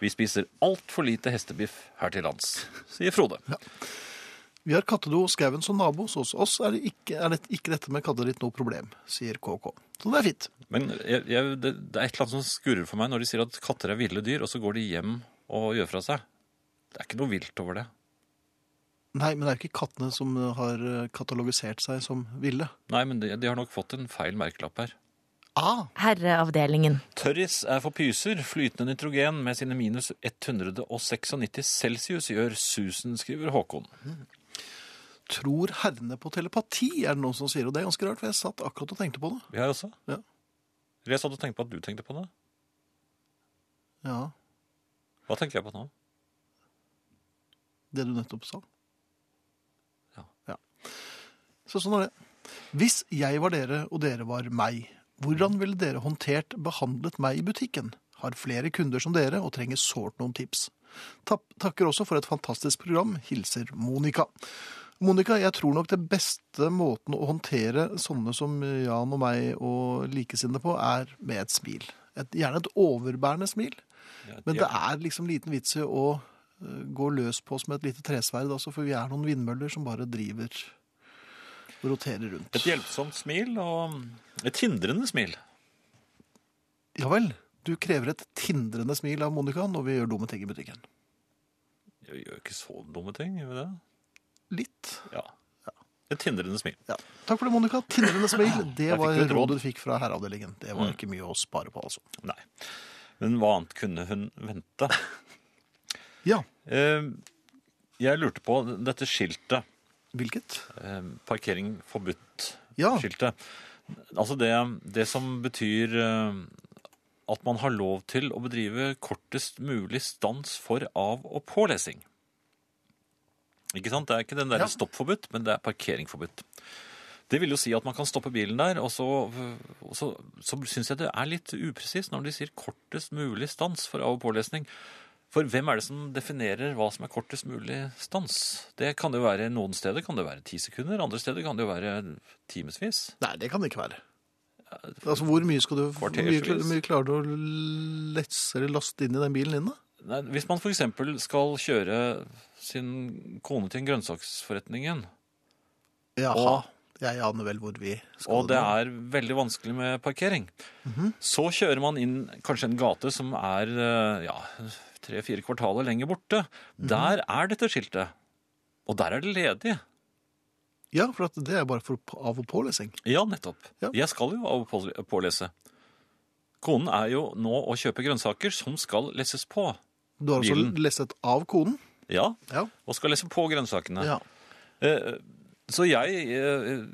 [SPEAKER 2] Vi spiser altfor lite hestebiff her til lands, sier Frode.
[SPEAKER 1] Vi har kattedo og skauen som nabo, så hos oss er, det ikke, er det ikke dette med kattedritt noe problem, sier KK. Så det er fint.
[SPEAKER 2] Men jeg, jeg, det, det er et eller annet som skurrer for meg når de sier at katter er ville dyr, og så går de hjem og gjør fra seg. Det er ikke noe vilt over det.
[SPEAKER 1] Nei, men det er jo ikke kattene som eh, har katalogisert seg som ville.
[SPEAKER 2] Nei, men de, de har nok fått en feil merkelapp her.
[SPEAKER 1] Ah,
[SPEAKER 3] Herreavdelingen.
[SPEAKER 2] Tørris er for pyser. Flytende nitrogen med sine minus 196 celsius gjør susen, skriver Håkon.
[SPEAKER 1] tror herrene på telepati, er det noen som sier. Og det er ganske rart, for jeg satt akkurat og tenkte på det.
[SPEAKER 2] Vi har også.
[SPEAKER 1] Ja.
[SPEAKER 2] Jeg satt og tenkte på at du tenkte på det.
[SPEAKER 1] Ja,
[SPEAKER 2] Hva tenker jeg på nå?
[SPEAKER 1] det du nettopp sa.
[SPEAKER 2] Ja.
[SPEAKER 1] Så sånn er det. Hvis jeg var dere, og dere var meg, hvordan ville dere håndtert behandlet meg i butikken? Har flere kunder som dere, og trenger sårt noen tips. Tapp, takker også for et fantastisk program. Hilser Monica. Monica, jeg tror nok det beste måten å håndtere sånne som Jan og meg og likesinnede på, er med et smil. Et, gjerne et overbærende smil.
[SPEAKER 2] Ja,
[SPEAKER 1] Men
[SPEAKER 2] ja.
[SPEAKER 1] det er liksom liten vits i å eh, gå løs på oss med et lite tresverd, altså, for vi er noen vindmøller som bare driver og roterer rundt.
[SPEAKER 2] Et hjelpsomt smil og mm, et hindrende smil.
[SPEAKER 1] Ja vel. Du krever et tindrende smil av Monica når vi gjør dumme ting i butikken.
[SPEAKER 2] Jeg gjør ikke så dumme ting, gjør vi det?
[SPEAKER 1] Litt.
[SPEAKER 2] Ja. Et hindrende smil.
[SPEAKER 1] Ja. Takk for det, Monica. Tindrende smil, det
[SPEAKER 2] Der fikk
[SPEAKER 1] var
[SPEAKER 2] du et råd. Mm.
[SPEAKER 1] rådet du fikk fra herreavdelingen. Det var ikke mye å spare på, altså.
[SPEAKER 2] Nei. Men hva annet kunne hun vente?
[SPEAKER 1] Ja.
[SPEAKER 2] Eh, Jeg lurte på dette skiltet.
[SPEAKER 1] Hvilket?
[SPEAKER 2] eh, Parkering forbudt-skiltet.
[SPEAKER 1] Ja.
[SPEAKER 2] Altså det, det som betyr eh, at man har lov til å bedrive kortest mulig stans for av- og pålesing. Ikke sant? Det er ikke den der
[SPEAKER 1] Ja.
[SPEAKER 2] stopp forbudt, men det er parkering forbudt. Det vil jo si at man kan stoppe bilen der, og så, og så, så syns jeg det er litt upresist når de sier kortest mulig stans for av- og pålesning. For hvem er det som definerer hva som er kortest mulig stans? Det kan det jo være Noen steder kan det være ti sekunder, andre steder kan det jo være timevis.
[SPEAKER 1] Nei, det kan det ikke være. Altså, Hvor mye skal du hvor mye,
[SPEAKER 2] Kvartersvis.
[SPEAKER 1] hvor mye klarer du å lesse eller laste inn i den bilen din, da?
[SPEAKER 2] Nei, hvis man f.eks. skal kjøre sin kone til en grønnsaksforretningen,
[SPEAKER 1] Jaha.
[SPEAKER 2] Og-
[SPEAKER 1] Jeg aner vel hvor vi skal.
[SPEAKER 2] og det
[SPEAKER 1] nå.
[SPEAKER 2] er veldig vanskelig med parkering, så kjører man inn kanskje en gate som er eh, ja, tre-fire kvartaler lenger borte. Der er dette skiltet. Og der er det ledig.
[SPEAKER 1] Ja, for at det er bare for av- og pålesing.
[SPEAKER 2] Ja, nettopp.
[SPEAKER 1] Ja.
[SPEAKER 2] Jeg skal jo av og på- pålese. Konen er jo nå å kjøpe grønnsaker som skal lesses på.
[SPEAKER 1] Du har altså
[SPEAKER 2] Bilen.
[SPEAKER 1] lesset av konen.
[SPEAKER 2] Ja,
[SPEAKER 1] Ja.
[SPEAKER 2] og skal lese på grønnsakene.
[SPEAKER 1] ja.
[SPEAKER 2] Eh, Så jeg eh,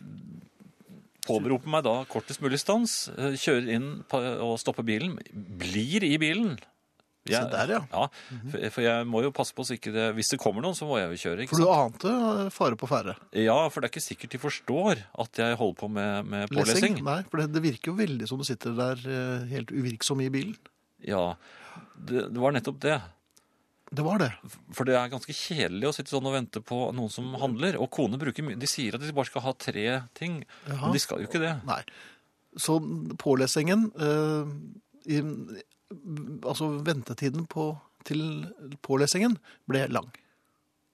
[SPEAKER 2] påberoper meg da kortest mulig stans, eh, kjører inn pa- og stopper bilen, blir i bilen,
[SPEAKER 1] Se
[SPEAKER 2] Jeg-
[SPEAKER 1] der, ja. Mhm.
[SPEAKER 2] for- For jeg må jo passe på så ikke det Hvis det kommer noen, så må jeg jo kjøre. Ikke
[SPEAKER 1] For du
[SPEAKER 2] sant?
[SPEAKER 1] ante eh, fare på ferde.
[SPEAKER 2] Ja, for det er ikke sikkert de forstår at jeg holder på med, med pålesing.
[SPEAKER 1] Nei, for det, det virker jo veldig som du sitter der eh, helt uvirksom i bilen.
[SPEAKER 2] Ja, det, det var nettopp det.
[SPEAKER 1] Det var det.
[SPEAKER 2] For det er ganske kjedelig å sitte sånn og vente på noen som handler. Og kone bruker mye. De sier at de bare skal ha tre ting,
[SPEAKER 1] Jaha.
[SPEAKER 2] men de skal jo ikke det.
[SPEAKER 1] Nei. Så pålesingen eh, i, Altså ventetiden på, til pålesingen ble lang.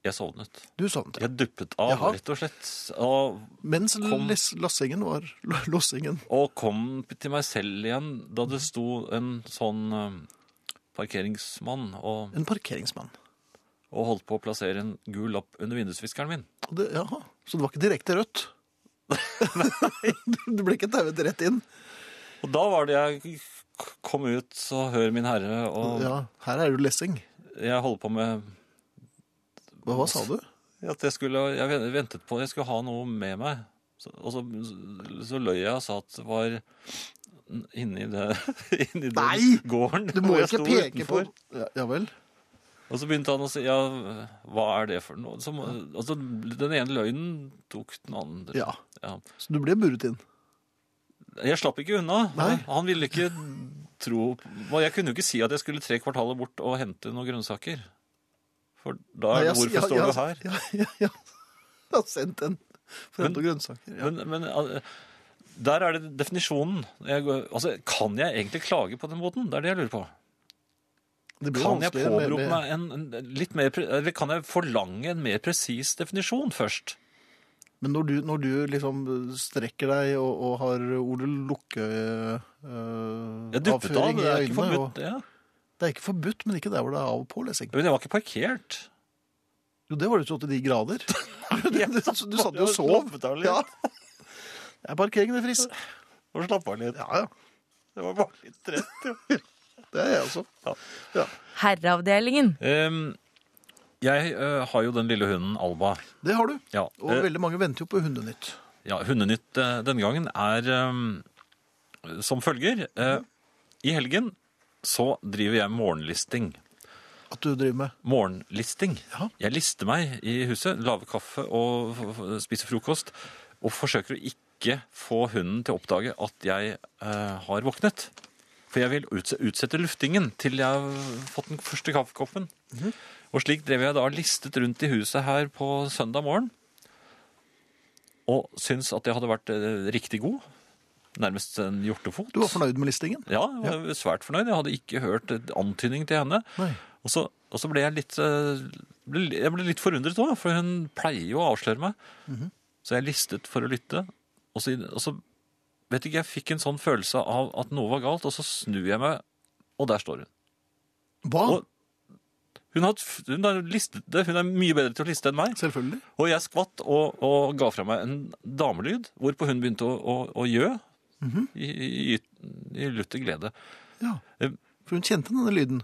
[SPEAKER 2] Jeg sovnet.
[SPEAKER 1] Du sovnet.
[SPEAKER 2] Jeg duppet av,
[SPEAKER 1] Jaha.
[SPEAKER 2] rett og slett. Og,
[SPEAKER 1] Mens
[SPEAKER 2] Kom.
[SPEAKER 1] les, lassingen var Lossingen.
[SPEAKER 2] og kom til meg selv igjen da det sto en sånn eh, parkeringsmann og,
[SPEAKER 1] En parkeringsmann.
[SPEAKER 2] og holdt på å plassere en gul lapp under vindusviskeren min.
[SPEAKER 1] Og Det, jaha. Så det var ikke direkte rødt? du ble ikke tauet rett inn?
[SPEAKER 2] Og da var det jeg k- kom ut, så hør min herre, og
[SPEAKER 1] Ja, her er jo lessing.
[SPEAKER 2] jeg holder på med
[SPEAKER 1] Hva, hva sa du?
[SPEAKER 2] At jeg skulle Jeg ventet på Jeg skulle ha noe med meg. Så, og så, så løy jeg og sa at det var inni det Inni den
[SPEAKER 1] Nei!
[SPEAKER 2] gården.
[SPEAKER 1] Du
[SPEAKER 2] hvor
[SPEAKER 1] må
[SPEAKER 2] jeg
[SPEAKER 1] ikke
[SPEAKER 2] sto
[SPEAKER 1] peke på
[SPEAKER 2] utenfor.
[SPEAKER 1] ja, ja vel.
[SPEAKER 2] Og så begynte han å si Ja, hva er det for noe? Så, må- altså, den ene løgnen tok den andre.
[SPEAKER 1] Ja. Så du ble burret inn.
[SPEAKER 2] Jeg slapp ikke unna.
[SPEAKER 1] Nei.
[SPEAKER 2] Han ville ikke tro Og Jeg kunne jo ikke si at jeg skulle tre kvartaler bort og hente noen grønnsaker. For da er det
[SPEAKER 1] Nei,
[SPEAKER 2] 'Hvorfor
[SPEAKER 1] jeg-
[SPEAKER 2] står
[SPEAKER 1] jeg-
[SPEAKER 2] du her?'
[SPEAKER 1] Ja, ja, ja. Jeg har sendt en for
[SPEAKER 2] Men-
[SPEAKER 1] hente grønnsaker. Ja.
[SPEAKER 2] Men, men al- der er det definisjonen. Jeg, går- altså, kan jeg egentlig klage på den måten? Det er det jeg lurer på.
[SPEAKER 1] Det blir
[SPEAKER 2] Kan jeg
[SPEAKER 1] vanskeligere med-
[SPEAKER 2] påberope
[SPEAKER 1] med-
[SPEAKER 2] meg en, en litt mer, pre- eller kan jeg forlange en mer presis definisjon først?
[SPEAKER 1] Men når du, når du liksom strekker deg og, og har ordet lukke øh,
[SPEAKER 2] Jeg duppet av,
[SPEAKER 1] avføring
[SPEAKER 2] det er ikke
[SPEAKER 1] og-
[SPEAKER 2] forbudt det.
[SPEAKER 1] det er ikke forbudt, men ikke der hvor det er av- og pålesing.
[SPEAKER 2] Men jeg var ikke parkert.
[SPEAKER 1] Jo, det var det til 89 grader. Du, du, du satt jo og sov.
[SPEAKER 2] Slappet av litt.
[SPEAKER 1] Ja. Det er parkeringen er frisk.
[SPEAKER 2] Og slapp av litt.
[SPEAKER 1] Ja, ja.
[SPEAKER 2] Det var bare litt trett, jo.
[SPEAKER 1] Det er jeg også.
[SPEAKER 3] Herreavdelingen.
[SPEAKER 2] Em, Ehm, jeg eh, har jo den lille hunden Alba.
[SPEAKER 1] Det har du.
[SPEAKER 2] Ja,
[SPEAKER 1] Og
[SPEAKER 2] eh,
[SPEAKER 1] veldig mange venter jo på Hundenytt.
[SPEAKER 2] Ja, Hundenytt eh, denne gangen er eh, som følger.
[SPEAKER 1] Mhm.
[SPEAKER 2] Eh, I helgen så driver jeg morgenlisting.
[SPEAKER 1] At du driver med
[SPEAKER 2] Morgenlisting.
[SPEAKER 1] Ja.
[SPEAKER 2] Jeg lister meg i huset, lager kaffe og f- f- spiser frokost. Og forsøker å ikke få hunden til å oppdage at jeg eh, har våknet. For jeg vil utse- utsette luftingen til jeg har fått den første kaffekoppen.
[SPEAKER 1] Mhm.
[SPEAKER 2] Og slik drev jeg da listet rundt i huset her på søndag morgen. Og syns at jeg hadde vært eh, riktig god. Nærmest en hjortefot.
[SPEAKER 1] Du var fornøyd med listingen?
[SPEAKER 2] Ja, jeg var svært fornøyd. Jeg hadde ikke hørt et antydning til henne.
[SPEAKER 1] Nei.
[SPEAKER 2] Og så, og så ble jeg litt, eh, ble, jeg ble litt forundret òg, for hun pleier jo å avsløre meg. Så jeg listet for å lytte, og så, og så vet ikke, jeg fikk en sånn følelse av at noe var galt, og så snur jeg meg, og der står hun.
[SPEAKER 1] Hva?
[SPEAKER 2] Og- Hun har, hun har listet det, hun er mye bedre til å liste enn meg.
[SPEAKER 1] Selvfølgelig.
[SPEAKER 2] Og jeg skvatt og, og ga fra meg en damelyd, hvorpå hun begynte å, å, å gjø i, i, i lutter glede.
[SPEAKER 1] Ja.
[SPEAKER 2] Eh,
[SPEAKER 1] For hun kjente denne lyden.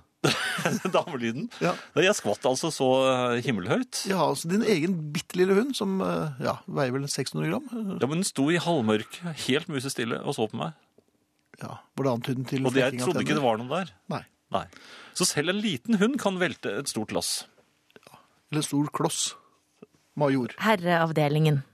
[SPEAKER 2] Damelyden.
[SPEAKER 1] Ja.
[SPEAKER 2] Nei, Jeg skvatt altså så eh, himmelhøyt.
[SPEAKER 1] Ja, altså din egen bitte lille hund som eh, ja, veier vel 600 gram.
[SPEAKER 2] Ja, men den sto i halvmørket, helt musestille, og så på meg.
[SPEAKER 1] Ja, Var det antydning til
[SPEAKER 2] Og det, jeg trodde ikke det var noen der.
[SPEAKER 1] Nei.
[SPEAKER 2] Nei. Så selv en liten hund kan velte et stort lass.
[SPEAKER 1] Eller en stor kloss. Major.
[SPEAKER 3] Herreavdelingen.